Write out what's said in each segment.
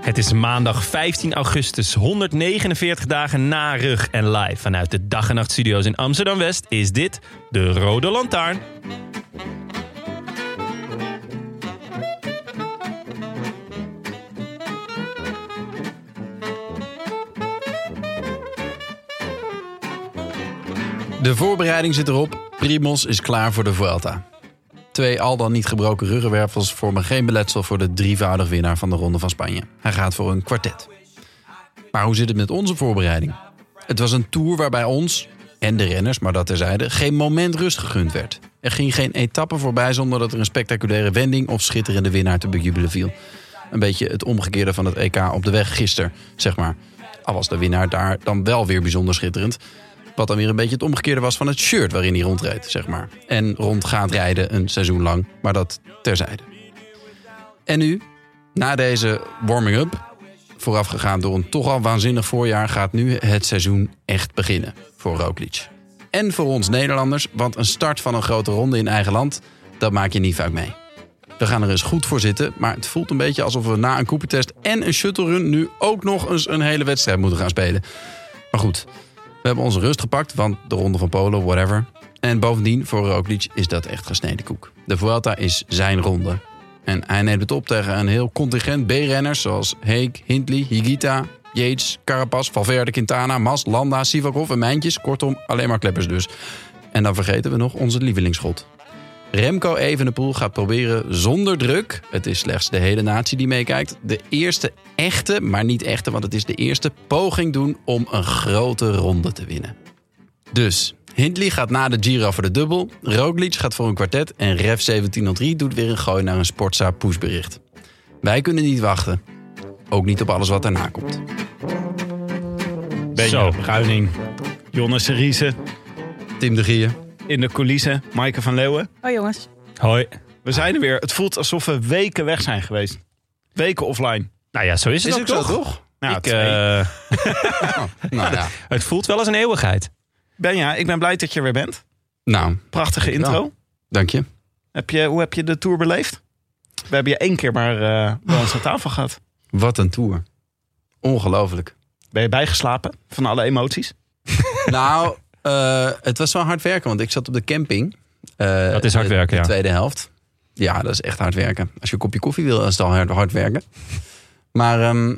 Het is maandag 15 augustus, 149 dagen na rug en live vanuit de dag en nacht studio's in Amsterdam West is dit de Rode Lantaarn. De voorbereiding zit erop. Primos is klaar voor de Vuelta. Twee al dan niet gebroken ruggenwervels vormen geen beletsel voor de drievoudig winnaar van de Ronde van Spanje. Hij gaat voor een kwartet. Maar hoe zit het met onze voorbereiding? Het was een tour waarbij ons, en de renners, maar dat terzijde, geen moment rust gegund werd. Er ging geen etappe voorbij zonder dat er een spectaculaire wending of schitterende winnaar te bejubelen viel. Een beetje het omgekeerde van het EK op de weg gisteren, zeg maar. Al was de winnaar daar dan wel weer bijzonder schitterend. Wat dan weer een beetje het omgekeerde was van het shirt waarin hij rondreed, zeg maar. En rond gaat rijden een seizoen lang, maar dat terzijde. En nu, na deze warming-up, voorafgegaan door een toch al waanzinnig voorjaar, gaat nu het seizoen echt beginnen voor Roglic. En voor ons Nederlanders, want een start van een grote ronde in eigen land, dat maak je niet vaak mee. We gaan er eens goed voor zitten, maar het voelt een beetje alsof we na een Coopertest en een shuttle-run nu ook nog eens een hele wedstrijd moeten gaan spelen. Maar goed, we hebben onze rust gepakt, want de Ronde van Polen, whatever. En bovendien, voor Roglic is dat echt gesneden koek. De Vuelta is zijn ronde. En hij neemt het op tegen een heel contingent B-renners... zoals Heek, Hindley, Higita, Yates, Carapaz, Valverde, Quintana... Mas, Landa, Sivakov en Mijntjes. Kortom, alleen maar kleppers dus. En dan vergeten we nog onze lievelingsschot. Remco Evenepoel gaat proberen zonder druk... het is slechts de hele natie die meekijkt... de eerste echte, maar niet echte, want het is de eerste... poging doen om een grote ronde te winnen. Dus, Hindley gaat na de Giro voor de dubbel... Roglic gaat voor een kwartet... en Ref 1703 doet weer een gooi naar een Sportza pushbericht. Wij kunnen niet wachten. Ook niet op alles wat daarna komt. Zo. Benja Bruining, Jonne Seriese Tim de Gier. in de coulissen, Maaike van Leeuwen. Oh jongens, Hoi. We zijn er weer. Het voelt alsof we weken weg zijn geweest. Weken offline. Nou ja, zo is het Is ook ook zo, toch? toch? Nou, Ik, twee. eh, Oh, nou ja. het voelt wel als een eeuwigheid. Benja, ik ben blij dat je er weer bent. Nou, Prachtige intro. dank je. Heb je, hoe heb je de tour beleefd? We hebben je één keer maar eh, bij ons aan tafel gehad. Wat een tour. Ongelooflijk. Ben je bijgeslapen van alle emoties? Nou, eh, het was wel hard werken, want ik zat op de camping. Eh, Dat is hard de- werken, De ja. tweede helft. Ja, dat is echt hard werken. Als je een kopje koffie wil, is het al hard, hard werken. Maar ehm,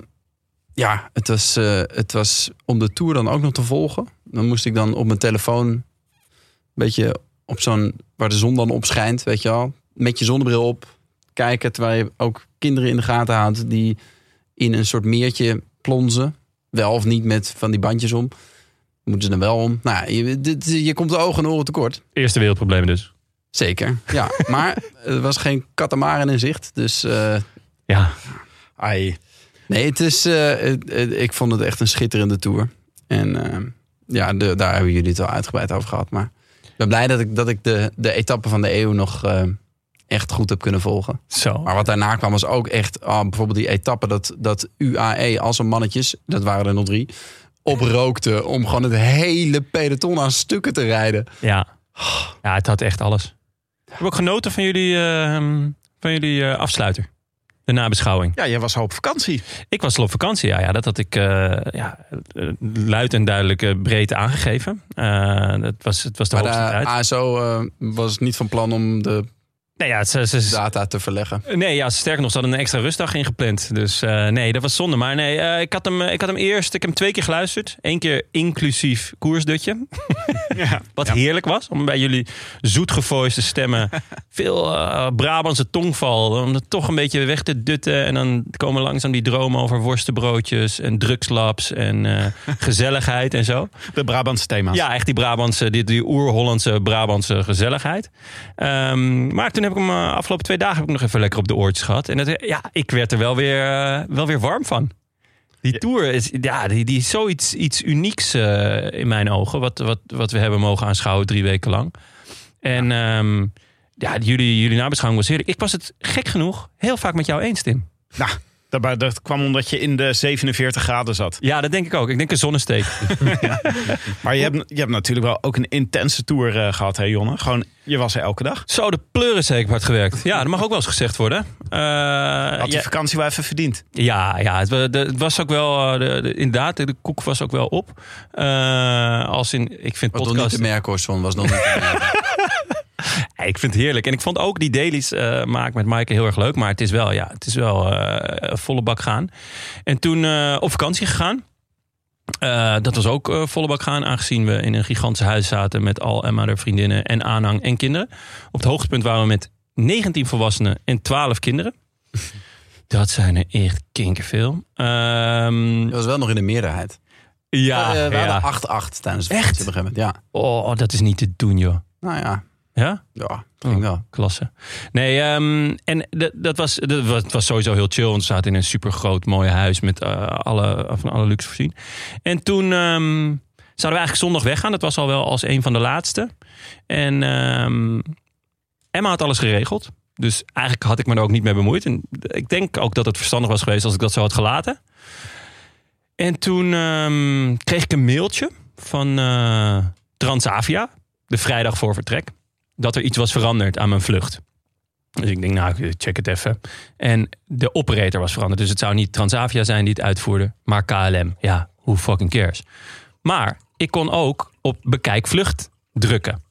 ja, het was, eh, het was om de tour dan ook nog te volgen. Dan moest ik dan op mijn telefoon een beetje op zo'n... waar de zon dan op schijnt, weet je wel. Met je zonnebril op kijken, terwijl je ook kinderen in de gaten houdt... die in een soort meertje plonzen. Wel of niet met van die bandjes om. Moeten ze er wel om. Nou, ja, je, dit, je komt de ogen en oren tekort. Eerste wereldprobleem dus. Zeker, ja. Maar er was geen katamaran in zicht. Dus eh, Ja, Ai. nee, het is, eh, het- het- ik vond het echt een schitterende tour. En eh, ja, de- daar hebben jullie het wel uitgebreid over gehad. Maar ik ben blij dat ik, dat ik de, de etappe van de eeuw nog eh, echt goed heb kunnen volgen. zo. Maar wat daarna kwam was ook echt, ah, bijvoorbeeld die etappe dat, dat UAE als een mannetjes, dat waren er nog drie, oprookte om gewoon het hele peloton aan stukken te rijden. Ja. ehm, ja, het had echt alles. Ik heb ook genoten van jullie, eh, van jullie eh, afsluiter. De nabeschouwing. Ja, jij was al op vakantie. Ik was al op vakantie, ja. ja dat had ik eh, ja, eh, luid en duidelijk eh, breed aangegeven. Eh dat was, het was de Maar hoogste de tijd. ASO eh, was niet van plan om de nee, ja, ze, ze- ze- data te verleggen. Nee, ja, sterker nog, ze hadden een extra rustdag ingepland. Dus eh, nee, dat was zonde. Maar nee, eh, ik, had hem, eh, ik had hem eerst, ik heb hem twee keer geluisterd. Eén keer inclusief koersdutje. Ja. Wat heerlijk was, om bij jullie zoetgevoiste stemmen... veel eh, Brabantse tongval, om dat toch een beetje weg te dutten. En dan komen langzaam die dromen over worstenbroodjes en drugslabs en eh, gezelligheid en zo. De Brabantse thema's. Ja, echt die Brabantse, die, die oer-Hollandse Brabantse gezelligheid. Ehm, maar toen heb ik hem eh, afgelopen twee dagen heb ik nog even lekker op de oortjes gehad. En het, ja, ik werd er wel weer, eh, wel weer warm van. Die tour is, ja, die, die is zoiets iets unieks eh, in mijn ogen. Wat, wat, wat we hebben mogen aanschouwen drie weken lang. En ja, ja jullie, jullie nabeschouwing was heerlijk. Ik was het gek genoeg heel vaak met jou eens, Tim. Nou, dat, dat kwam omdat je in de 47 graden zat. Ja, dat denk ik ook. Ik denk een zonnesteek. Maar je hebt, je hebt natuurlijk wel ook een intense tour eh, gehad, hè Jonne? Gewoon, je was er elke dag. Zo, de pleuris heb ik hard gewerkt. Ja, dat mag ook wel eens gezegd worden. Eh, Had die ja. vakantie wel even verdiend. Ja, ja het, wa- de- het was ook wel, eh, de, de- inderdaad, de koek was ook wel op. Eh, als in, ik vind Wat nog niet podcast, de Mercorson was nog niet te merken. Ja, ik vind het heerlijk. En ik vond ook die dailies eh maak met Maaike heel erg leuk. Maar het is wel, ja, het is wel eh, volle bak gaan. En toen eh, op vakantie gegaan. Eh, dat was ook eh, volle bak gaan, aangezien we in een gigantisch huis zaten met al Emma, haar vriendinnen en aanhang en kinderen. Op het hoogtepunt waren we met 19 volwassenen en 12 kinderen. Dat zijn er echt kinkerveel. Ehm Je was wel nog in de meerderheid. Ja, Eh, we ja. hadden 8-8 tijdens de Echt? vakantie op een gegeven moment. Ja, Oh, dat is niet te doen, joh. nou ja. Ja? Ja, ging wel. Klasse. Nee, ehm, en dat, dat, was, dat was, het was sowieso heel chill. Want we zaten in een super groot, mooi huis met eh, alle, van alle luxe voorzien. En toen ehm, zouden we eigenlijk zondag weggaan. Dat was al wel als een van de laatste. En ehm, Emma had alles geregeld. Dus eigenlijk had ik me er ook niet mee bemoeid. En ik denk ook dat het verstandig was geweest als ik dat zo had gelaten. En toen ehm, kreeg ik een mailtje van eh, Transavia. De vrijdag voor vertrek dat er iets was veranderd aan mijn vlucht. Dus ik denk, nou, ik check het even. En de operator was veranderd. Dus het zou niet Transavia zijn die het uitvoerde, maar KLM. Ja, who fucking cares. Maar ik kon ook op bekijk vlucht drukken.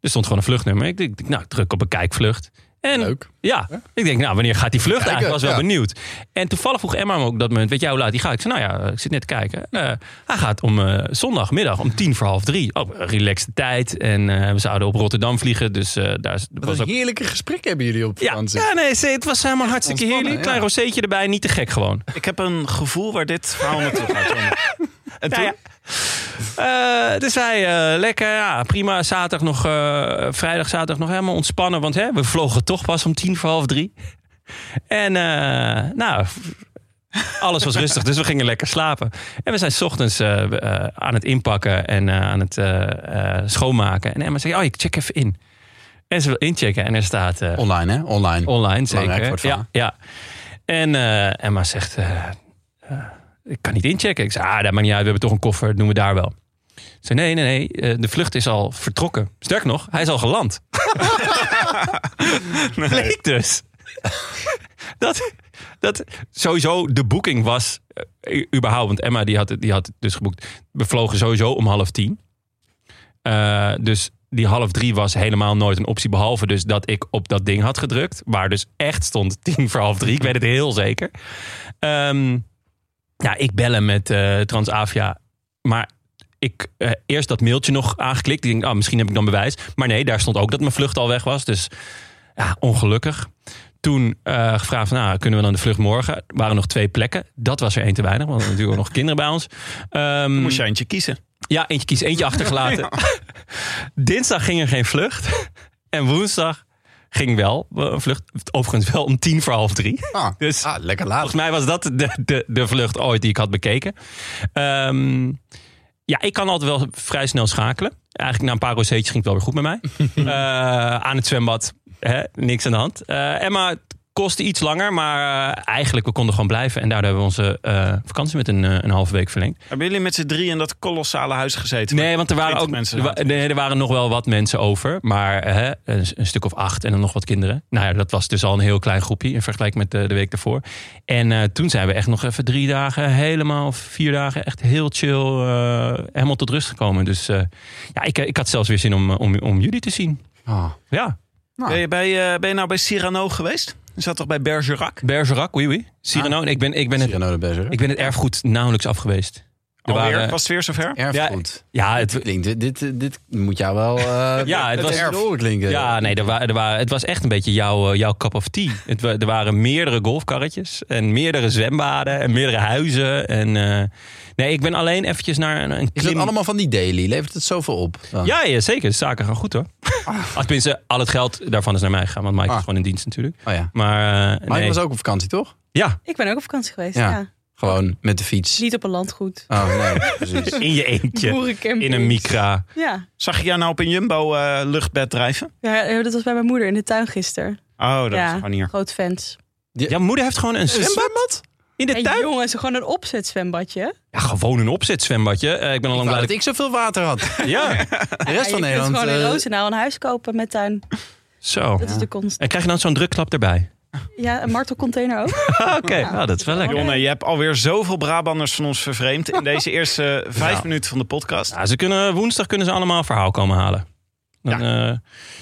Er stond gewoon een vluchtnummer. Ik denk, nou, ik druk op bekijk vlucht. En Leuk. ja, ik denk, nou, wanneer gaat die vlucht Kijken, eigenlijk? Ik was wel ja. benieuwd. En toevallig vroeg Emma me ook op dat moment, weet jij hoe laat die gaat? Ik zei, nou ja, ik zit net te kijken. Eh, hij gaat om eh, zondagmiddag om tien voor half drie. Oh, relaxte tijd. En eh, we zouden op Rotterdam vliegen, dus eh, daar is- Wat was een ook... heerlijke gesprekken hebben jullie op Ja, vakantie. ja, nee, ze- het was helemaal hartstikke ontspannen, heerlijk. Klein ja. rozeetje erbij, niet te gek gewoon. Ik heb een gevoel waar dit verhaal naartoe gaat, Jonne. En toen, Nou ja. Eh, dus wij eh, lekker, ja, prima. Zaterdag nog, eh, vrijdag, zaterdag nog helemaal ontspannen. Want hè, we vlogen toch pas om tien voor half drie. En eh, nou, alles was rustig, dus we gingen lekker slapen. En we zijn 's ochtends eh, eh, aan het inpakken en eh, aan het eh, eh, schoonmaken. En Emma zei, oh, ik check even in. En ze wil inchecken en er staat... eh, Online, hè? Online. Online, Belangrijk zeker. voor het Ja, ja. En eh, Emma zegt, eh, eh, ik kan niet inchecken. Ik zei, ah, dat maakt niet uit, we hebben toch een koffer, dat doen we daar wel. Ze zei, nee, nee, nee, eh, de vlucht is al vertrokken. Sterker nog, hij is al geland. Bleek dus. dat, dat sowieso de boeking was, eh, u- überhaupt, want Emma die had, het- die had het dus geboekt. We vlogen sowieso om half tien. Eh, dus die half drie was helemaal nooit een optie. Behalve dus dat ik op dat ding had gedrukt. Waar dus echt stond tien voor half drie. Ik weet het heel zeker. Ehm ja, ik bellen met eh, Transavia. Maar ik eh, eerst dat mailtje nog aangeklikt. Ik denk, ah, misschien heb ik dan bewijs. Maar nee, daar stond ook dat mijn vlucht al weg was. Dus ja, ongelukkig. Toen eh, gevraagd, van, nou, kunnen we dan de vlucht morgen? Er waren nog twee plekken. Dat was er één te weinig, want er waren natuurlijk ook nog kinderen bij ons. Ehm, moest je eentje kiezen. ja, eentje kies, eentje achtergelaten. Dinsdag ging er geen vlucht. En woensdag ging wel eh, een vlucht. Overigens wel om tien voor half drie. Ah, Dus- ah, lekker laat. Volgens mij was dat de, de, de vlucht ooit die ik had bekeken. Ehm, ja, ik kan altijd wel vrij snel schakelen. Eigenlijk na een paar rozeetjes ging het wel weer goed met mij. Eh, aan het zwembad, hè, niks aan de hand. Eh, Emma Kostte iets langer, maar eh, eigenlijk we konden gewoon blijven. En daardoor hebben we onze eh, vakantie met een, eh, een halve week verlengd. Hebben jullie met z'n drie in dat kolossale huis gezeten? Nee, want er waren 20 ook mensen er wa- nee, er waren nog wel wat mensen over. Maar hè, een, een stuk of acht en dan nog wat kinderen. Nou ja, dat was dus al een heel klein groepje in vergelijking met de, de week daarvoor. En eh, toen zijn we echt nog even drie dagen, helemaal of vier dagen, echt heel chill, eh, helemaal tot rust gekomen. Dus eh, ja, ik, ik had zelfs weer zin om, eh, om, om jullie te zien. Ah. Ja, Ben, je bij, eh, ben je nou bij Cyrano geweest? Je zat toch bij Bergerac? Bergerac, oui oui. Ah. Cyrano, ik, ben, ik, ben het, Cyrano de Bergerac. ik ben het erfgoed nauwelijks af geweest. Er Alweer? waren- Was het weer zover? Erfgoed. ja, het, Klinkt, dit, dit, dit moet jou wel eh Ja, het was- erf. klinken. Ja, nee, er wa- er wa- het was echt een beetje jouw, eh, jouw cup of tea. Het, wa- er waren meerdere golfkarretjes en meerdere zwembaden en meerdere huizen. En, eh, nee, ik ben alleen eventjes naar een, een Is dat klim- allemaal van die daily? Levert het zoveel op? Oh. Dan? Ja, ja, zeker. De zaken gaan goed hoor. Ah, Tenminste, al het geld daarvan is naar mij gegaan. Want Mike Ah. is gewoon in dienst natuurlijk. Oh ja. Maar, eh, Maar nee. je was ook op vakantie, toch? ja, Ik ben ook op vakantie geweest, Ja. ja. Gewoon met de fiets. Niet op een landgoed. Oh nee, precies. in je eentje. Boerencamping. In een micra. Ja. Zag je jou nou op een Jumbo eh, luchtbed drijven? ja, eh, dat was bij mijn moeder in de tuin gisteren. Oh, dat Ja. was gewoon hier. Groot fans. Jouw moeder heeft gewoon een zwembad in de En tuin. jongens, gewoon een opzetzwembadje. Ja, gewoon een opzetzwembadje. Eh, ik ben al Ik lang blij wou dat dat ik... ik zoveel water had. De Ja, rest van ja, je Nederland. kunt gewoon in eh, Roosendaal een huis kopen met tuin. zo. Dat is de konst. En krijg je dan zo'n drukklap erbij? Ja, een martelcontainer ook. Ah, Oké, nou, dat is wel lekker. Jonne, Oh, je hebt alweer zoveel Brabanders van ons vervreemd in deze eerste eh, vijf Nou. minuten van de podcast. Ja, ze kunnen, woensdag kunnen ze allemaal een verhaal komen halen. Dan, eh, krijgen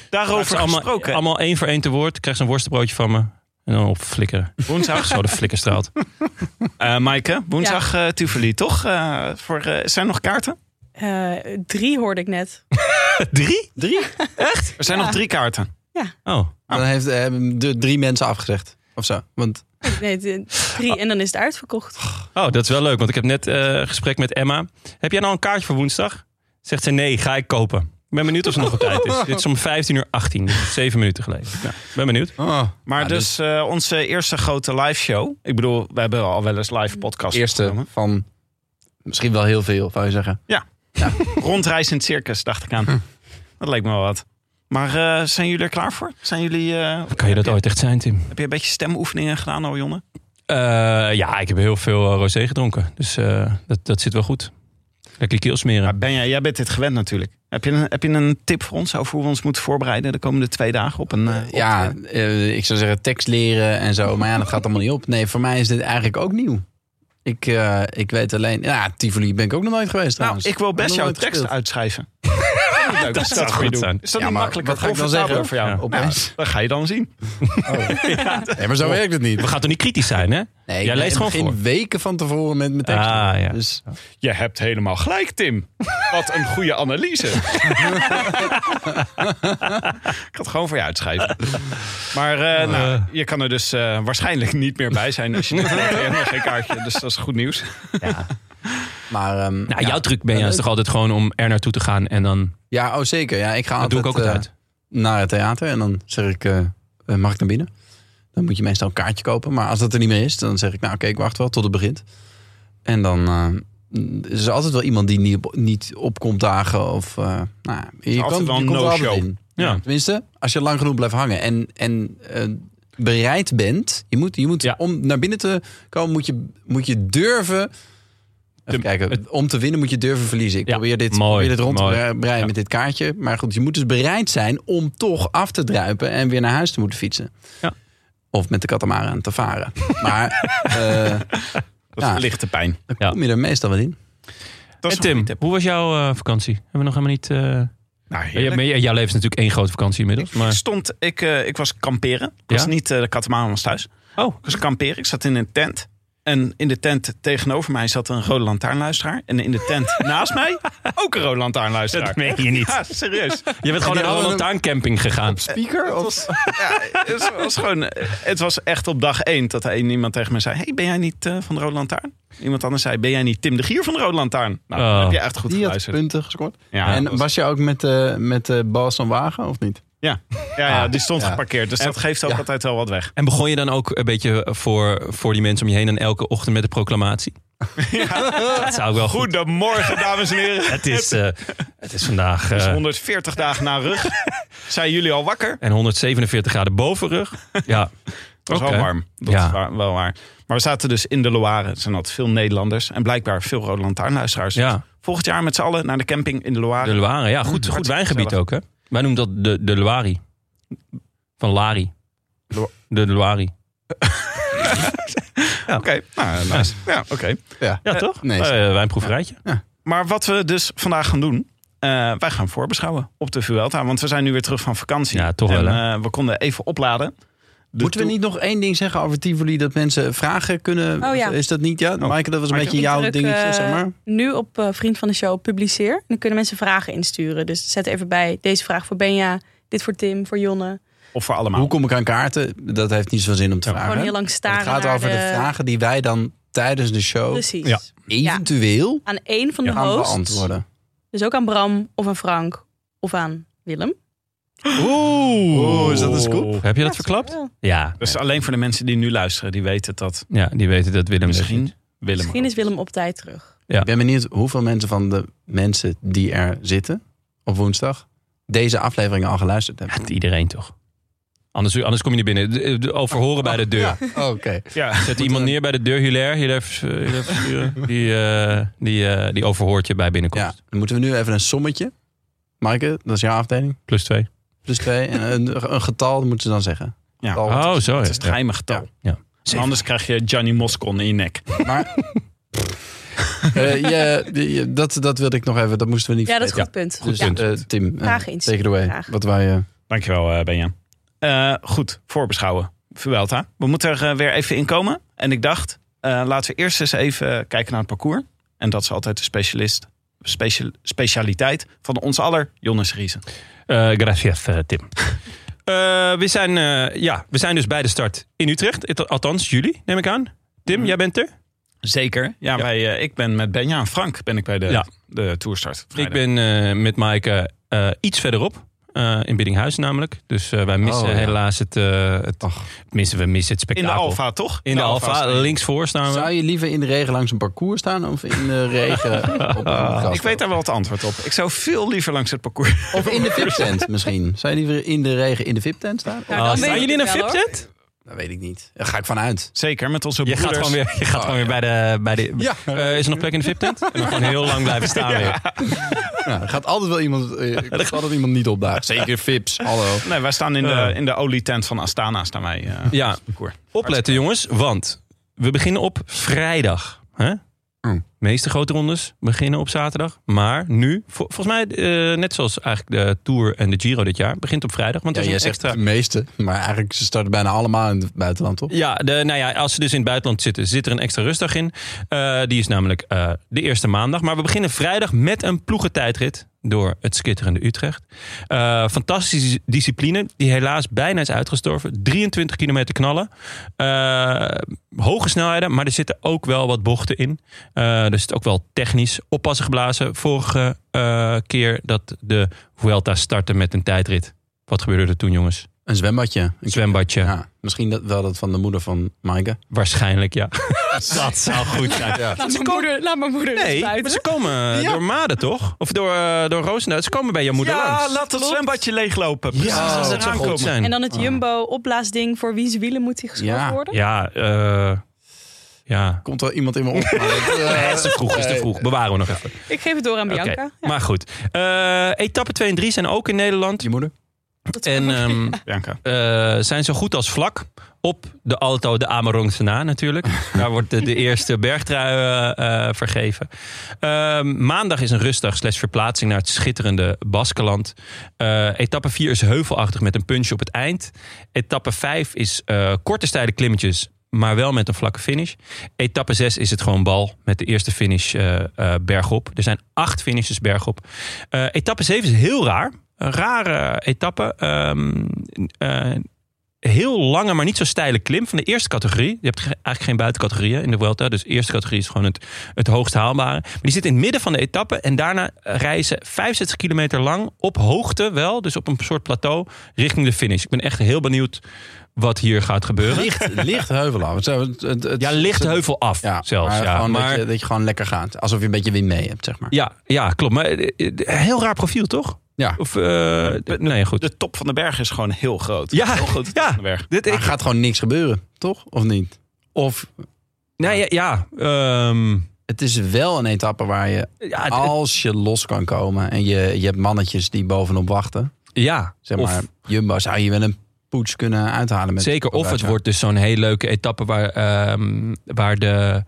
ze Daarover allemaal, gesproken. allemaal één voor één te woord. Krijg ze een worstenbroodje van me. En dan op flikkeren. woensdag. Zo de flikkerstraat. Eh Maaike, woensdag eh Tivoli, toch? Eh, voor, eh, zijn er nog kaarten? Eh, drie hoorde ik net. Drie? Drie? Echt? Er zijn nog drie kaarten. Oh, Dan heeft, eh, hebben de drie mensen afgezegd. Of zo. Want Nee, d- drie en dan is het uitverkocht. oh dat is wel leuk. Want ik heb net eh, een gesprek met Emma. Heb jij nou een kaartje voor woensdag? Zegt ze nee, ga ik kopen. Ik ben benieuwd of ze nog op tijd is. Dit is om 15 uur 18. Dus zeven minuten geleden. Nou, ben benieuwd. oh, Maar Ja, dus, dus- eh, onze eerste grote live show. Ik bedoel, we hebben al wel eens live podcast Mm, eerste opgenomen. van misschien wel heel veel, zou je zeggen. Rondreizend circus, dacht ik Hm. aan. Dat leek me wel wat. Maar eh, zijn jullie er klaar voor? Zijn jullie, eh, Kan je dat ooit echt zijn, Tim? heb je een beetje stemoefeningen gedaan, al Jonne? Eh, ja, ik heb heel veel eh, rosé gedronken. Dus eh, dat, dat zit wel goed. Lekker keel smeren. Maar ben jij, jij bent dit gewend natuurlijk. Heb je, een, heb je een tip voor ons over hoe we ons moeten voorbereiden de komende twee dagen op een... eh, op- Ja, eh, ik zou zeggen tekst leren en zo. Maar ja, dat gaat allemaal niet op. Nee, voor mij is dit eigenlijk ook nieuw. Ik, eh, ik weet alleen... Ja, Tivoli ben ik ook nog nooit geweest nou, trouwens. ik wil best Nog jouw nooit tekst gespeeld. uitschrijven. Ah, dat, dat zou goed zijn. Is dat Ja, niet maar makkelijker? wat ga ik dan zeggen? Comfortabeler voor jou? Ja. Opeens. dat ga je dan zien. Nee, maar zo werkt het niet. We gaan toch niet kritisch zijn, hè? Nee, ik Jij ben- leest gewoon begin voor. weken van tevoren met mijn tekst. Ah, ja. Dus Je hebt helemaal gelijk, Tim. Wat een goede analyse. ik had gewoon voor je uitschrijven. Maar eh, nou, je kan er dus eh, waarschijnlijk niet meer bij zijn. Als je niet hebt geen kaartje, dus dat is goed nieuws. Maar, ehm, Nou, ja. jouw truc ben je is toch altijd gewoon om er naartoe te gaan en dan. ja, oh zeker. Ja, ik ga Dat altijd, doe ik ook altijd. eh, naar het theater en dan zeg ik, eh, eh, mag ik naar binnen? Dan moet je meestal een kaartje kopen. Maar als dat er niet meer is, dan zeg ik, nou oké, ik wacht wel tot het begint. En dan eh, er is er altijd wel iemand die niet, op, niet opkomt dagen. Of, eh, nou, ja, je altijd kan, wel je een komt er altijd no-show. in. Ja. Tenminste, als je lang genoeg blijft hangen en, en eh, bereid bent. Je moet, je moet Ja. om naar binnen te komen, moet je, moet je durven. Even kijken, om te winnen moet je durven verliezen. Ik Ja, probeer dit, mooi, probeer dit rond mooi. te bre- breien Ja. met dit kaartje. Maar goed, je moet dus bereid zijn om toch af te druipen en weer naar huis te moeten fietsen. Ja. Of met de katamaran te varen. Maar eh Dat is Ja. lichte pijn. dan Ja. kom je er meestal wel in. Dat eh, is En Tim, een goede tip. hoe was jouw eh, vakantie? Hebben we nog helemaal niet. eh, Nou, ja, maar j- jouw leven is natuurlijk één grote vakantie inmiddels. Ik Maar... stond, ik, eh, ik was kamperen. Ik was Ja? niet eh, de katamaran was thuis. Oh. Ik was kamperen. Ik zat in een tent. En in de tent tegenover mij zat een rode lantaarnluisteraar. En in de tent naast mij ook een rode lantaarnluisteraar. meen je niet. Ja, serieus. Je bent gewoon die naar een hadden hem- lantaarncamping gegaan. Speaker? Of? Ja, het, was gewoon, het was echt op dag één dat er iemand tegen me zei... hey, ben jij niet eh, van de Rode Lantaarn? Iemand anders zei, ben jij niet Tim de Gier van de Rode Lantaarn? Nou, dan Oh. heb je echt goed Die had geluisterd. punten gescoord. Ja, en dat was... was- je ook met, eh met eh Bas van Wagen of niet? ja. Ja, ja, die stond Ja. geparkeerd. Dus dat geeft ook Ja. altijd wel wat weg. En begon je dan ook een beetje eh, voor, voor die mensen om je heen en elke ochtend met de proclamatie? Dat zou ik wel goed. Goedemorgen, dames en heren. Het, is, eh, het is vandaag. Het is eh, 140 dagen na rug. Zijn jullie al wakker? en 147 graden bovenrug. Ja, Het was wel Oké. warm. Dat Ja. is wa- wel waar. Maar we zaten dus in de Loire. Er zijn altijd veel Nederlanders. En blijkbaar veel Rode Lantaarnluisteraars. Ja, Volgend jaar met z'n allen naar de camping in de de Loire. Loire. Ja, goed, goed Ah, Hartstikke wijngebied gezellig. ook, hè? Wij noemen dat de, de Loire. Van Lari. Lo- De Loire. Oké, nou, nice. Ja, oké. Ja, toch? nee, Eh, wijnproeverijtje. Maar wat we dus vandaag gaan doen, eh, wij gaan voorbeschouwen op de Vuelta. Want we zijn nu weer terug van vakantie. Ja, toch en, wel, eh, we konden even opladen. De Moeten we toe- niet nog één ding zeggen over Tivoli? Dat mensen vragen kunnen... Oh ja. Is dat niet? Ja, Maaike, dat was een Maaike, beetje jouw Ik druk, dingetje, eh, zeg maar. Nu op eh, Vriend van de Show publiceer. En dan kunnen mensen vragen insturen. Dus zet even bij deze vraag voor Benja, dit voor Tim, voor Jonne. Of voor allemaal. Hoe kom ik aan kaarten? Dat heeft niet zoveel zin om te vragen. Gewoon heel lang Het staren gaat naar Dus, over de... vragen die wij dan tijdens de show Precies. Ja. eventueel Aan één van de gaan hosts. beantwoorden. Dus ook aan Bram of aan Frank of aan Willem. Oeh. Oeh, is dat een scoop? Heb je dat verklapt? wel. Ja. Dus alleen voor de mensen die nu luisteren, die weten dat Ja, die weten dat Willem misschien misschien. Willem. Misschien is Willem op tijd terug. Ja. Ik ben benieuwd hoeveel mensen van de mensen die er zitten op woensdag deze afleveringen al geluisterd hebben. Iedereen toch? Anders, anders kom je niet binnen. De- de- Overhoren bij de deur. Ja, Oké. Ja, Zet iemand neer bij de deur, Hilaire. Hilaire, Vers- eh, Hilaire Versturen. die, eh, die, eh, die overhoort je bij binnenkomst. Ja, dan moeten we nu even een sommetje. Maaike, dat is jouw afdeling. Plus twee. Plus twee. En een, een getal, dat moeten ze dan zeggen. Ja. Getal. Oh, zo. het ja. is het geheime getal. Ja. En Anders krijg je Johnny Moscon in je nek. Maar. Eh, ja, die- ja, dat, dat wilde ik nog even. Dat moesten we niet Ja, dat is vergeten. goed punt. Dus ja. eh, Tim, eh, Vragen insturen, take it away. graag. Wat wij, eh, Dankjewel, eh, Benja. Eh, goed, voorbeschouwen. Vuelta. We moeten er eh, weer even in komen. En ik dacht, eh, laten we eerst eens even kijken naar het parcours. En dat is altijd de specialist, special, specialiteit van ons aller Jonas Riesen. Eh, gracias, eh, Tim. Eh, we, zijn, eh, ja, we zijn dus bij de start in Utrecht. Het- Althans, jullie, neem ik aan. Tim, jij bent er? Zeker. Ja, Wij, eh, ik ben met Benja en Frank ben ik bij de, Ja. de toerstart. Ik ben eh, met Maaike eh, iets verderop. eh, in Biddinghuis namelijk. Dus eh, wij missen Oh, ja. helaas het, eh het missen, we missen het in de spektakel. Alfa, toch? In de, Alfa, Alfa. links voor staan we. Zou je liever in de regen langs een parcours staan of in de regen op een Ah, grasveld? Ik weet daar wel het antwoord op. Ik zou veel liever langs het parcours. Of in de VIP-tent misschien. Zou je liever in de regen in de VIP-tent staan? Nou, Ah, dan weet staan ik jullie in een het wel, hoor. VIP-tent? Dat weet ik niet. Daar ga ik vanuit. Zeker, met onze Je gaat broeders. gewoon weer, je gaat gewoon weer bij de... Bij de Ja. Eh, is er nog plek in de VIP-tent? En dan gewoon heel lang blijven staan weer. Ja, er gaat altijd wel iemand, eh, er gaat altijd iemand niet opdagen. Zeker VIPs. Hallo. Nee, wij staan in de, Eh. in de olietent van Astana. Staan wij, eh, Ja. op het parcours. Opletten jongens, want we beginnen op vrijdag. Hè? Mm. De meeste grote rondes beginnen op zaterdag. Maar nu, vol- volgens mij eh, net zoals eigenlijk de Tour en de Giro dit jaar, begint op vrijdag. Want Ja, er is jij een zegt extra... de meeste, maar eigenlijk ze starten bijna allemaal in het buitenland, toch? Ja, de, nou ja, als ze dus in het buitenland zitten, zit er een extra rustdag in. Eh, die is namelijk eh, de eerste maandag. Maar we beginnen vrijdag met een ploegentijdrit door het skitterende Utrecht. Eh, fantastische discipline, die helaas bijna is uitgestorven. 23 kilometer knallen. Eh, hoge snelheden, maar er zitten ook wel wat bochten in. Eh, er zit ook wel technisch oppassen geblazen. Vorige eh, keer dat de Vuelta startte met een tijdrit. Wat gebeurde er toen, jongens? Een zwembadje. Een zwembadje. Ja, misschien dat, wel dat van de moeder van Maaike. Waarschijnlijk, ja. Dat zou goed zijn. Laat mijn moeder, laat mijn moeder Nee, eens maar buiten. ze komen eh, door Maden, toch? Of door, eh, door Roosendaal. Ze komen bij jouw moeder ja, langs. laat het zwembadje leeglopen. Precies Ja, als ze dat zou eraan goed komen. zijn. En dan het Jumbo-opblaasding voor wie's wielen moet hij geschoven Ja. worden. Ja, eh, ja. Komt wel iemand in me op? maar ik, eh, Het is te vroeg, is te vroeg. Bewaren we nog even. Ik geef het door aan Oké, Bianca. Ja, Maar goed. Eh, etappe 2 en 3 zijn ook in Nederland. Je moeder? En ehm, Bianca. eh, zijn zo goed als vlak op de Alto de Amarongse na natuurlijk. Daar wordt de, de eerste bergtrui eh, eh, vergeven. Ehm, maandag is een rustdag slash verplaatsing naar het schitterende Baskeland. Eh, etappe 4 is heuvelachtig met een punch op het eind. Etappe 5 is eh, korte stijle klimmetjes, maar wel met een vlakke finish. Etappe 6 is het gewoon bal met de eerste finish eh, eh, bergop. Er zijn acht finishes bergop. Eh, etappe 7 is heel raar. Een rare etappe. Ehm, eh, heel lange, maar niet zo steile klim van de eerste categorie. Je hebt ge- eigenlijk geen buitencategorieën in de Vuelta. Dus de eerste categorie is gewoon het, het hoogst haalbare. Maar die zit in het midden van de etappe. En daarna reizen 65 kilometer lang op hoogte wel. Dus op een soort plateau richting de finish. Ik ben echt heel benieuwd wat hier gaat gebeuren. Licht, licht heuvel af. Het, het, het- het- Ja, licht heuvel af Ja, zelfs. maar ja. gewoon Maar- Dat, je, dat je gewoon lekker gaat. Alsof je een beetje wind mee hebt, zeg maar. ja, ja, klopt. Maar eh, eh, heel raar profiel, toch? Ja. Of, eh, nee, goed. De top van de berg is gewoon heel groot. Ja, heel groot. ja. Van de berg. Dit, Maar ik, er gaat gewoon niks gebeuren, toch? Of niet? Of nee, ja, ja, ehm, het is wel een etappe waar je, ja, het- als je los kan komen en je, je hebt mannetjes die bovenop wachten. ja, Zeg of- maar, Jumbo zou je wel een poets kunnen uithalen. Met Zeker, of het Pogacar. wordt dus zo'n hele leuke etappe waar, ehm, waar de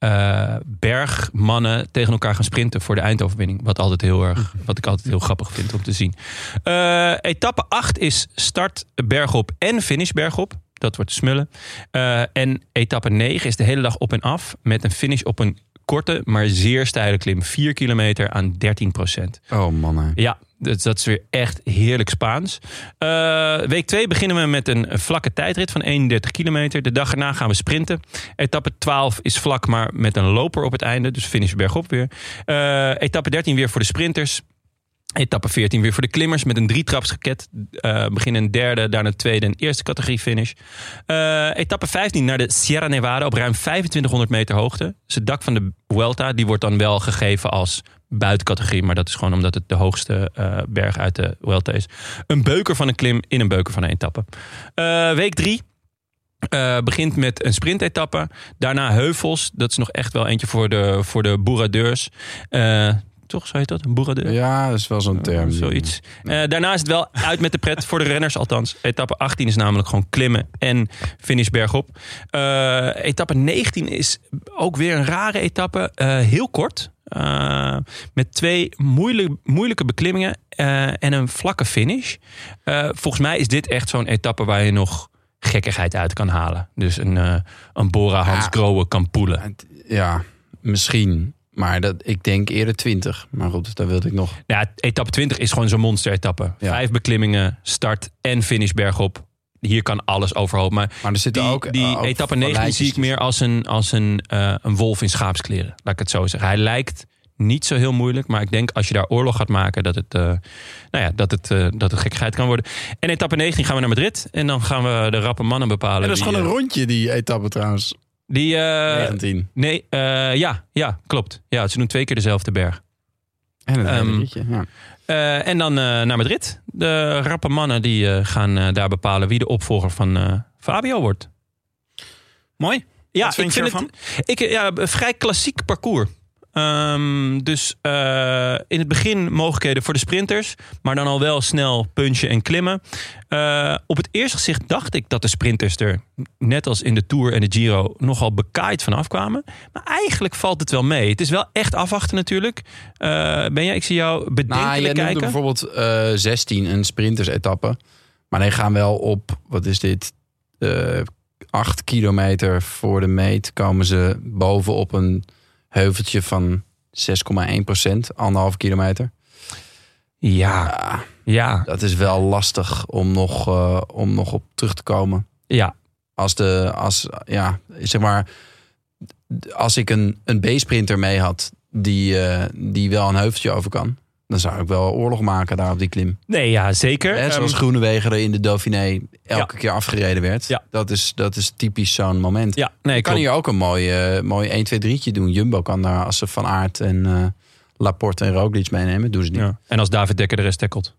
eh, bergmannen tegen elkaar gaan sprinten voor de eindoverwinning. Wat, altijd heel erg, wat ik altijd heel grappig vind om te zien. Eh, etappe 8 is start bergop en finish bergop. Dat wordt smullen. Eh, en etappe 9 is de hele dag op en af met een finish op een korte, maar zeer steile klim. 4 kilometer aan 13 procent. Oh man, Ja, dus dat is weer echt heerlijk Spaans. Eh, week 2 beginnen we met een vlakke tijdrit van 31 kilometer. De dag erna gaan we sprinten. Etappe 12 is vlak, maar met een loper op het einde. Dus finish bergop weer. Eh, etappe 13 weer voor de sprinters. Etappe 14 weer voor de klimmers met een drietrapsraket. Eh begin een derde, daarna een tweede en eerste categorie finish. Eh, etappe 15 naar de Sierra Nevada op ruim 2500 meter hoogte. Dus het dak van de Vuelta die wordt dan wel gegeven als buitencategorie. Maar dat is gewoon omdat het de hoogste eh, berg uit de Vuelta is. Een beuker van een klim in een beuker van een etappe. Eh, week 3 begint met een sprintetappe. Daarna heuvels. Dat is nog echt wel eentje voor de, voor de boeradeurs. Eh, toch, zo heet dat? Een boeradeur? Ja, dat is wel zo'n term. Zoiets. Eh, daarna is het wel uit met de pret voor de renners althans. Etappe 18 is namelijk gewoon klimmen en finish bergop. Eh, etappe 19 is ook weer een rare etappe. eh, heel kort. Eh, met twee moeilijke, moeilijke beklimmingen eh, en een vlakke finish. Eh, volgens mij is dit echt zo'n etappe waar je nog gekkigheid uit kan halen. Dus een, eh, een Bora Hans Ja. Grohe kan poelen. Het- Ja, misschien. Maar dat, ik denk eerder 20. Maar goed, daar wilde ik nog. Nou Ja, etappe 20 is gewoon zo'n monster-etappe. Ja. Vijf beklimmingen, start en finish bergop. Hier kan alles overhoop. Maar Maar er zitten die, ook. eh, die ook etappe van 19 zie ik lijntjes meer als, een, als een, eh, een wolf in schaapskleren. Laat ik het zo zeggen. Hij lijkt niet zo heel moeilijk. Maar ik denk als je daar oorlog gaat maken, dat het, eh, nou ja, dat het, eh, dat het gekkigheid kan worden. En etappe 19 gaan we naar Madrid. En dan gaan we de rappe mannen bepalen. Ja, dat is wie, gewoon een eh, rondje, die etappe trouwens. Die, eh, 19. nee, eh, ja, ja, klopt. Ja, ze doen twee keer dezelfde berg. En een ehm, hele ritje, ja. Eh, en dan eh, naar Madrid. De rappe mannen die eh, gaan eh, daar bepalen wie de opvolger van eh, Fabio wordt. Mooi. Ja, Wat vind je ervan? het ik, eh, ja, een vrij klassiek parcours. Ehm, dus eh, in het begin mogelijkheden voor de sprinters, maar dan al wel snel punchen en klimmen. Eh, op het eerste gezicht dacht ik dat de sprinters er, net als in de Tour en de Giro, nogal bekaaid van afkwamen. Maar eigenlijk valt het wel mee. Het is wel echt afwachten natuurlijk. Eh, ben jij, ik zie jou Nou, bedenkelijk jij noemde kijken. bijvoorbeeld eh 16 een sprinters-etappe. Maar die gaan wel op, wat is dit? Eh 8 kilometer voor de meet komen ze boven op een heuveltje van 6,1 procent, anderhalf kilometer. Ja, Ah, ja. dat is wel lastig om nog, eh, om nog op terug te komen. Ja, Als de, als, ja, zeg maar, als ik een, een B-sprinter mee had die, eh, die wel een heuveltje over kan, dan zou ik wel oorlog maken daar op die klim. nee, ja, zeker. Hè, Ehm, zoals Groenewegen er in de Dauphiné elke keer afgereden werd. Ja. Dat, is, dat is typisch zo'n moment. ja, nee, Je kan klopt. hier ook een mooi, eh, mooi 1, 2, 3'tje doen. Jumbo kan daar als ze Van Aert en eh, Laporte en Roglic meenemen. Doen ze niet. Ja. En als David Dekker de rest tackelt.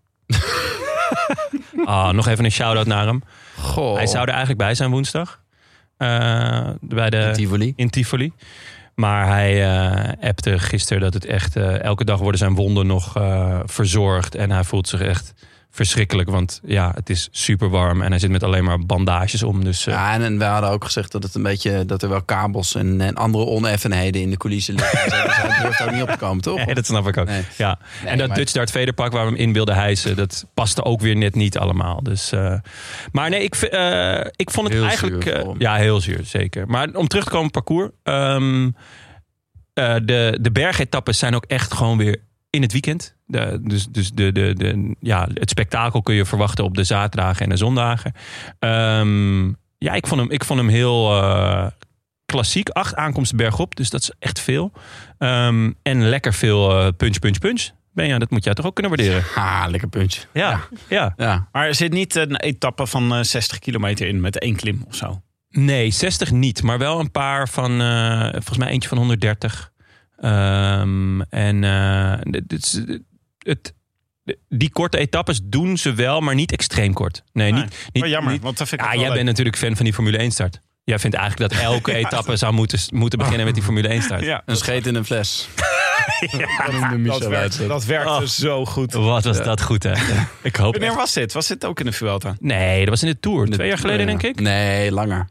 ah, nog even een shout-out naar hem. Goh, Hij zou er eigenlijk bij zijn woensdag. Eh, bij de, in Tivoli. in Tivoli. Maar hij eh appte gisteren dat het echt... eh, elke dag worden zijn wonden nog eh, verzorgd. En hij voelt zich echt verschrikkelijk. Want ja, het is super warm. En hij zit met alleen maar bandages om. Dus eh, Ja, en, en we hadden ook gezegd dat, het een beetje, dat er wel kabels en, en andere oneffenheden in de coulissen liggen. dus hij durft daar niet op te komen, toch? nee, dat snap ik ook. Nee. Ja. en dat maar- Dutch Dart Vader pak waar we hem in wilden hijsen, dat paste ook weer net niet allemaal. Dus, eh, maar nee, ik, v- eh, ik vond het Heel eigenlijk. zuur eh, voor hem. ja, heel zuur, zeker. Maar om terug te komen op het parcours. ehm, eh, de, de bergetappes zijn ook echt gewoon weer in het weekend. De, dus dus de, de, de, ja, het spektakel kun je verwachten op de zaterdagen en de zondagen. Ehm, ja, ik vond hem, ik vond hem heel eh, klassiek. Acht aankomsten bergop, dus dat is echt veel. Ehm, en lekker veel eh, punch, punch, punch. Benja, dat moet jij toch ook kunnen waarderen? Ha, Ah, lekker puntje. Ja, ja. Ja, Maar er zit niet een etappe van eh, 60 kilometer in met één klim of zo. Oh, Nee, 60 niet, maar wel een paar van, eh, volgens mij eentje van 130. Ehm, en eh, dit- dit is- het, de- die korte etappes doen ze wel, maar niet extreem kort. Nee, Nee, niet, niet, Maar Ah, oh, jammer, niet- want dat vind ik ja, ook jij wel bent leuk. natuurlijk fan van die Formule 1 start. Jij vindt eigenlijk dat elke etappe zou moeten, moeten beginnen met die Formule 1 start. Ja, Een scheet in een fles. dat werkte, dat werkte Oh. zo goed. Wat was dat goed, hè? Ik hoop Wanneer echt- was dit? Was dit ook in de Vuelta? Nee, dat was in de Tour. Twee jaar geleden, denk ik. Nee, langer.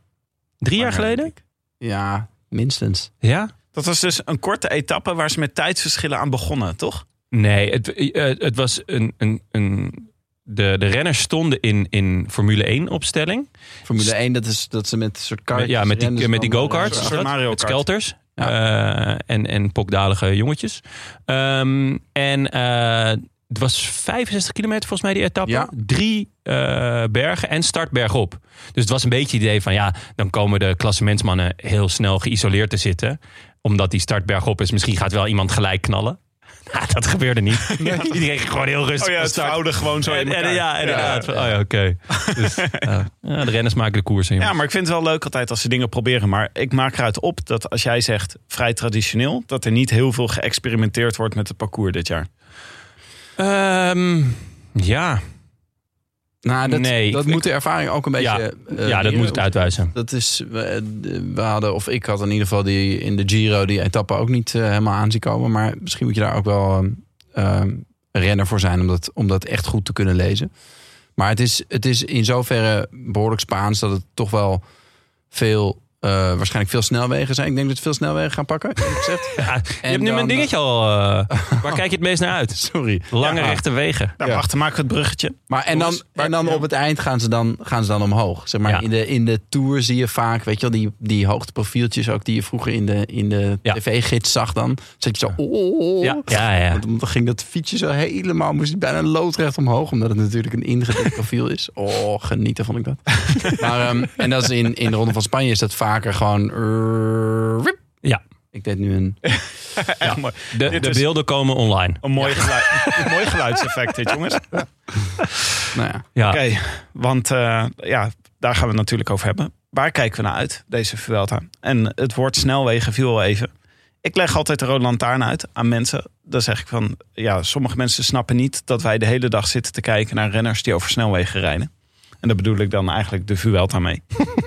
Drie jaar Langer, geleden? Ja, minstens. Ja? Dat was dus een korte etappe waar ze met tijdsverschillen aan begonnen, Oh toch? Nee, het, eh, het was een... een, een de, de renners stonden in, in Formule 1 opstelling. Formule 1, dat is dat ze met een soort kaartjes... ja, met die, rennen, met die dus dan- go-karts. Een is soort dat? Mario Met Kart. skelters. eh, en, en pokdalige jongetjes. Ehm, en eh, het was 65 kilometer volgens mij die etappe. Ja. Drie eh, bergen en startberg op. Dus het was een beetje het idee van ja, dan komen de klassementsmannen heel snel geïsoleerd te zitten. Omdat die startberg op is. Misschien gaat wel iemand gelijk knallen. Nou, dat gebeurde niet. Iedereen ging gewoon heel Oh rustig. van start. gewoon zo En- en- ja, inderdaad. Van, Oh ja, oké. Dus, ja. Ja, de renners maken de koers. Ja, maar ik vind het wel leuk altijd als ze dingen proberen. Maar ik maak eruit op dat als jij zegt vrij traditioneel... dat er niet heel veel geëxperimenteerd wordt met het parcours dit jaar. Ehm, ja. Nou, dat, Nee, dat ik- moet de ervaring ook een beetje... Ja, eh, ja, dat leren. moet ik uitwijzen. Dat is, we, we hadden, of ik had in ieder geval die, in de Giro die etappe ook niet eh, helemaal aan zien komen. Maar misschien moet je daar ook wel ehm, ehm, een renner voor zijn om dat, om dat echt goed te kunnen lezen. Maar het is, het is in zoverre behoorlijk Spaans dat het toch wel veel, eh, waarschijnlijk veel snelwegen zijn. Ik denk dat we veel snelwegen gaan pakken. eerlijk gezegd. Ja, je hebt nu dan- mijn dingetje al. eh, waar kijk je het meest naar uit? Sorry. Lange Ja. rechte wegen. Nou, Ja. wacht, dan maken we het bruggetje. Maar en dan, en dan op het eind gaan ze dan, gaan ze dan omhoog. Zeg maar, Ja. in, de, in de tour zie je vaak, weet je wel, die, die hoogteprofieltjes ook die je vroeger in de, in de Ja. tv-gids zag dan. Zet je zo, oh. Ja, ja, ja. Want dan ging dat fietsje zo helemaal, moest hij bijna loodrecht omhoog. Omdat het natuurlijk een ingedikt profiel is. Oh, genieten vond ik dat. maar, ehm, en dat is in, in de Ronde van Spanje is dat vaker gewoon... eh, wip. Ja. Ik deed nu een... Echt mooi. De, Dit de is- beelden komen online. Een mooi, geluid, een mooi geluidseffect dit, jongens. Oké, Nou ja, Ja. want eh, ja, daar gaan we het natuurlijk over hebben. Waar kijken we naar uit, deze Vuelta? En het woord snelwegen viel al even. Ik leg altijd de rode lantaarn uit aan mensen. Dan zeg ik van, ja, sommige mensen snappen niet... dat wij de hele dag zitten te kijken naar renners die over snelwegen rijden. En daar bedoel ik dan eigenlijk de Vuelta mee.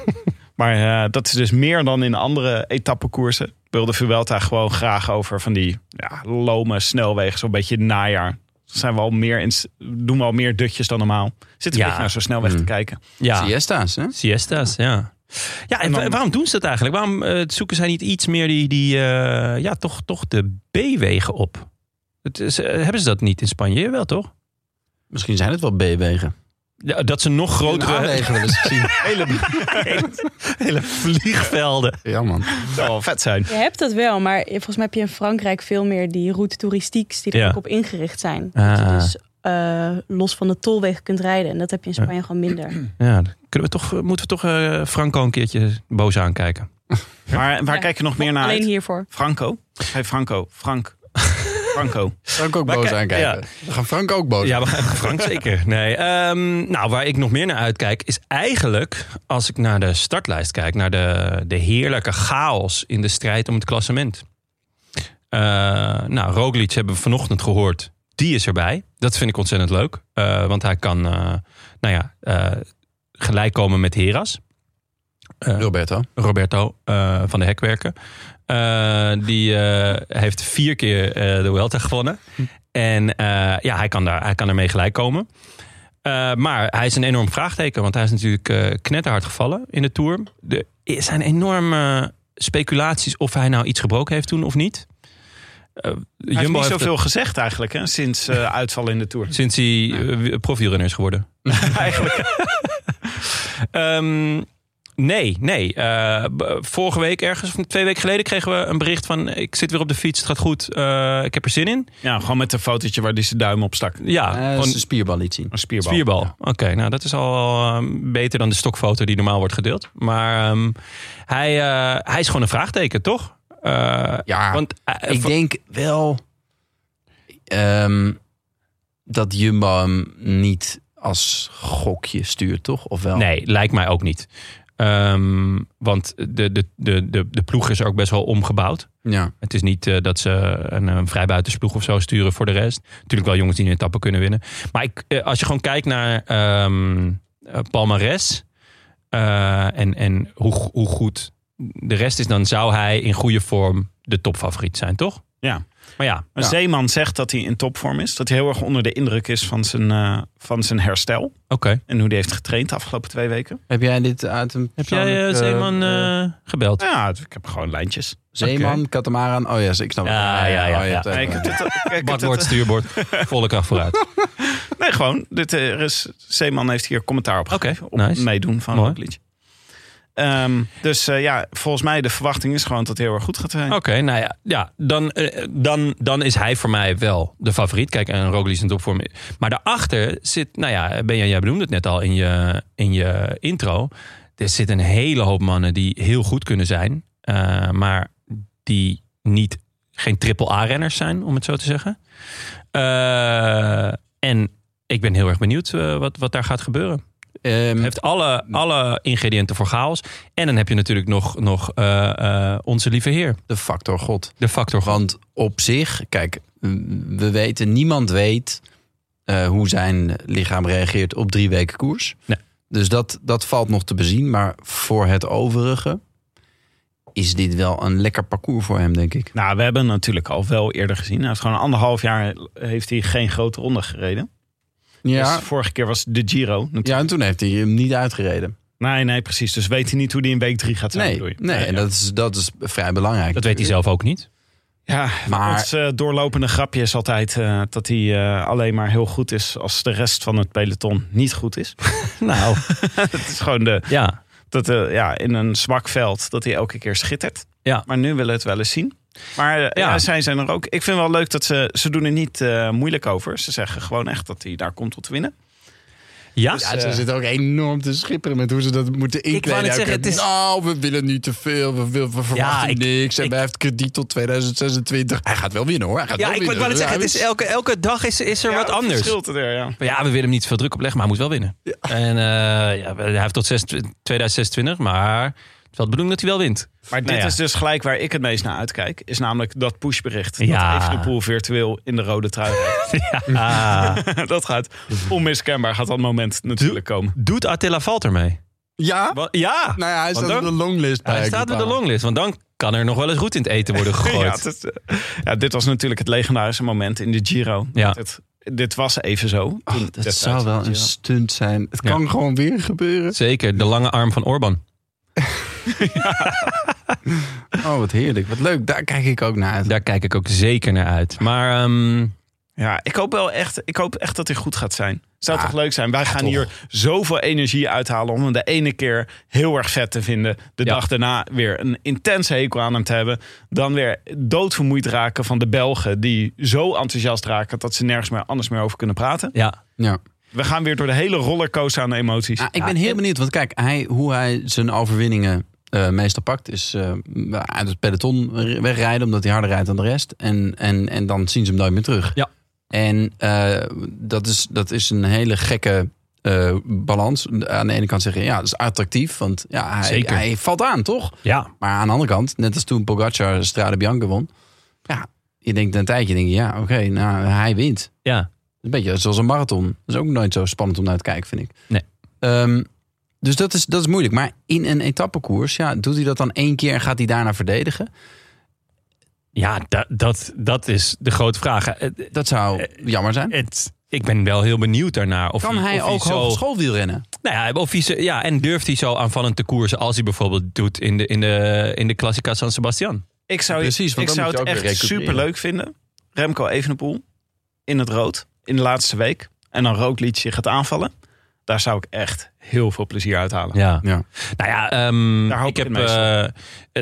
maar eh, dat is dus meer dan in andere etappekoersen. Ik wil de Vuelta gewoon graag over van die ja, lome snelwegen. Zo'n beetje najaar. Zijn we al meer in, doen we al meer dutjes dan normaal. Zitten we Ja. een beetje naar zo'n snelweg te Mm. kijken. ja. siesta's, hè? Siestas, ja. Ja, en En dan- wa- waarom doen ze dat eigenlijk? Waarom eh, zoeken zij niet iets meer die, die eh, ja, toch, toch de B-wegen op? Het is, eh, hebben ze dat niet in Spanje? Wel, toch? Misschien zijn het wel B-wegen. Ja, dat ze nog grotere A-wegen wel eens gezien. hele, hele, hele vliegvelden. Ja, man. Dat zou wel vet zijn. Je hebt dat wel, maar volgens mij heb je in Frankrijk veel meer die route touristieks die er Ja. ook op ingericht zijn. Ah. Dat je dus eh, los van de tolweg kunt rijden. En dat heb je in Spanje gewoon minder. Ja, dan kunnen we toch, moeten we toch eh, Franco een keertje boos aankijken. Maar waar Ja. kijk je nog meer naar Alleen uit? hiervoor. Franco? Hey Franco, Frank. Franco. Frank ook Maar boos kijk, aankijken. We gaan Frank ook boos Ja, we gaan Frank zeker. Nee, ehm, nou, waar ik nog meer naar uitkijk is eigenlijk, als ik naar de startlijst kijk, naar de, de heerlijke chaos in de strijd om het klassement. Eh, nou, Roglic hebben we vanochtend gehoord. Die is erbij. Dat vind ik ontzettend leuk. Eh, want hij kan, eh, nou ja, eh, gelijk komen met Heras. Eh, Roberto. Roberto eh, van de Hekwerken. Eh, die eh, heeft vier keer eh, de Vuelta gewonnen. En eh, ja, hij kan, daar, hij kan ermee gelijk komen. Eh, maar hij is een enorm vraagteken, want hij is natuurlijk eh, knetterhard gevallen in de Tour. Er zijn enorme speculaties of hij nou iets gebroken heeft toen of niet. Eh, Hij heeft Jumbo niet heeft zoveel gezegd eigenlijk hè, sinds eh uitval in de Tour. Sinds hij eh, profielrenner is geworden. Eigenlijk. Ehm, nee, nee. Eh, b- vorige week ergens, of twee weken geleden, kregen we een bericht van... ik zit weer op de fiets, het gaat goed, eh, ik heb er zin in. Ja, gewoon met een fotootje waar hij zijn duim op stak. Ja, Eh, Ah, gewoon ze spierbal liet zien. Een spierbal. spierbal. Oké, nou dat is al eh, beter dan de stokfoto die normaal wordt gedeeld. Maar ehm, hij, eh, hij is gewoon een vraagteken, toch? Eh, Ja, Want eh, ik voor- denk wel ehm, dat Jumbo hem niet als gokje stuurt, toch? Of wel? Nee, lijkt mij ook niet. Eh, Ehm, want de, de, de, de, de ploeg is ook best wel omgebouwd. Ja. Het is niet eh, dat ze een, eh, vrijbuitensploeg of zo sturen voor de rest. Natuurlijk wel jongens die in etappen kunnen winnen. Maar ik, eh, als je gewoon kijkt naar ehm eh, Palmares eh, en, en hoe, go- hoe goed de rest is, dan zou hij in goede vorm de topfavoriet zijn, toch? Ja. Eh, Maar ja, Maar Zeeman zegt dat hij in topvorm is. Dat hij heel erg onder de indruk is van zijn, eh, van zijn herstel. oké. En hoe die heeft getraind de afgelopen twee weken. Heb jij dit uit een Heb jij eh, persoonlijk, eh, Zeeman eh, eh, gebeld? Ja, ik heb gewoon lijntjes. Zeeman, Katamaran. Oh yes, ik snap het. Ja, ja, ja, Oh, je ja. hebt even- Nee, ik heb dit- ik heb dit- Bakboord, stuurboord, volle kracht vooruit. nee, gewoon. Dit, eh, er is, Zeeman heeft hier commentaar op Oké, gegeven. Op nice. meedoen van Mooi. Roglic. Ehm, dus eh, ja, volgens mij de verwachting is gewoon dat hij heel erg goed gaat zijn. Oké, nou ja, ja dan, eh, dan, dan is hij voor mij wel de favoriet. Kijk, en Roglic is in topvorm. Maar daarachter zit, nou ja, Benja, jij benoemde het net al in je, in je intro. Er zit een hele hoop mannen die heel goed kunnen zijn. eh, maar die niet, geen triple-A-renners zijn, om het zo te zeggen. Eh, en ik ben heel erg benieuwd eh, wat, wat daar gaat gebeuren. Ehm, heeft alle, alle ingrediënten voor chaos. En dan heb je natuurlijk nog, nog eh, eh, onze lieve heer. de factor God. De factor gewoon. Want op zich, kijk, m, we weten, niemand weet eh, hoe zijn lichaam reageert op drie weken koers. Nee. Dus dat, dat valt nog te bezien. Maar voor het overige is dit wel een lekker parcours voor hem, denk ik. Nou, we hebben natuurlijk al wel eerder gezien. Hij heeft gewoon anderhalf jaar heeft hij geen grote ronde gereden. Ja, Dus vorige keer was de Giro. natuurlijk. ja en toen heeft hij hem niet uitgereden. Nee, nee, precies. Dus weet hij niet hoe hij in week drie gaat zijn. Nee, bedoel je? nee en dat is, dat is vrij belangrijk. Dat weet hij zelf ook niet. Ja, Maar- maar... ons eh, doorlopende grapje is altijd eh, dat hij eh, alleen maar heel goed is als de rest van het peloton niet goed is. Nou, Het is gewoon de, ja. dat eh, ja, in een zwak veld dat hij elke keer schittert. Ja. Maar nu willen we het wel eens zien. Maar eh, Ja. ja. zij zijn er ook. Ik vind wel leuk dat ze, ze doen er niet eh, moeilijk over. Ze zeggen gewoon echt dat hij daar komt om te winnen. Ja? Ja, ze zitten ook enorm te schipperen met hoe ze dat moeten inkleden. Dus, eh, wou net Elke zeggen, keer, het is- Nou, we willen niet te veel, we, wil- we verwachten ik- niks. En ik- hij heeft krediet tot 2026. Hij gaat wel winnen hoor, hij gaat wel winnen. Ja, hij- elke, elke dag is, is er Ja, het verschilt er, ja. Maar ja, we willen hem niet veel druk opleggen, maar hij moet wel winnen. En eh, ja, hij heeft tot 26 2026, maar het is wel de bedoeling dat hij wel wint. Maar dit Nou ja. is dus gelijk waar ik het meest naar uitkijk. Is namelijk dat pushbericht. Ja. Dat Evenepoel virtueel in de rode trui rijdt. Ah, dat gaat onmiskenbaar. Gaat dat moment natuurlijk komen. doet Attila Valter mee? Ja? Wa- Ja, Nou ja, hij staat dan- op de longlist. hij bij staat op de Groupama. longlist, want dan kan er nog wel eens goed in het eten worden Ja, gegooid. dat, eh, ja, dit was natuurlijk het legendarische moment in de Giro. Ja. Oh, Dat het- dit was even zo. Ach, Toen Oh, dat destijds zou in wel de een Giro. stunt zijn. Het Ja. kan gewoon weer gebeuren. Zeker, de lange arm van Orban. Oh, wat heerlijk. Wat leuk. Daar kijk ik ook naar uit. Daar kijk ik ook zeker naar uit. Maar ehm, Ja, ik hoop wel echt, ik hoop echt dat hij goed gaat zijn. Zou Ja. toch leuk zijn? Wij gaan toch. hier zoveel energie uithalen om hem de ene keer heel erg vet te vinden. De Ja. dag daarna weer een intense hekel aan hem te hebben. Dan weer doodvermoeid raken van de Belgen die zo enthousiast raken dat ze nergens meer anders meer over kunnen praten. ja, Ja. We gaan weer door de hele rollercoaster aan emoties. Ah, ik ben heel benieuwd, want kijk, hij, hoe hij zijn overwinningen eh, meestal pakt, is eh, uit het peloton wegrijden, omdat hij harder rijdt dan de rest. En, en, en dan zien ze hem nooit meer terug. Ja. En eh, dat, is, dat is een hele gekke eh, balans. Aan de ene kant zeggen, ja, dat is attractief, want ja, hij, Zeker. hij valt aan, toch? ja, Maar aan de andere kant, net als toen Pogacar Strade Bianca won, ja, je denkt na een tijdje, denk je, ja, oké, nou, hij wint. ja. Een beetje zoals een marathon. Dat is ook nooit zo spannend om naar te kijken, vind ik. Nee. Ehm, dus dat is, dat is moeilijk. Maar in een etappekoers, ja, doet hij dat dan één keer en gaat hij daarna verdedigen? Ja, da- dat, dat is de grote vraag. Eh, Het, Dat zou jammer zijn. het- ik ben wel heel benieuwd daarnaar. Of Kan hij of ook zo, hogeschoolwielrennen? nou ja, of hij zo- ja, en durft hij zo aanvallend te koersen als hij bijvoorbeeld doet in de, in de, in de Classica San Sebastian? Ik zou, Precies, want dan ik zou moet je het ook weer echt recupereren. superleuk vinden. Remco Evenepoel in het rood in de laatste week. En dan Roglic zich gaat aanvallen. Daar zou ik echt heel veel plezier uit halen. Ja. Ja. Nou ja, ehm, Daar hoop ik ik heb. het meest op. eh,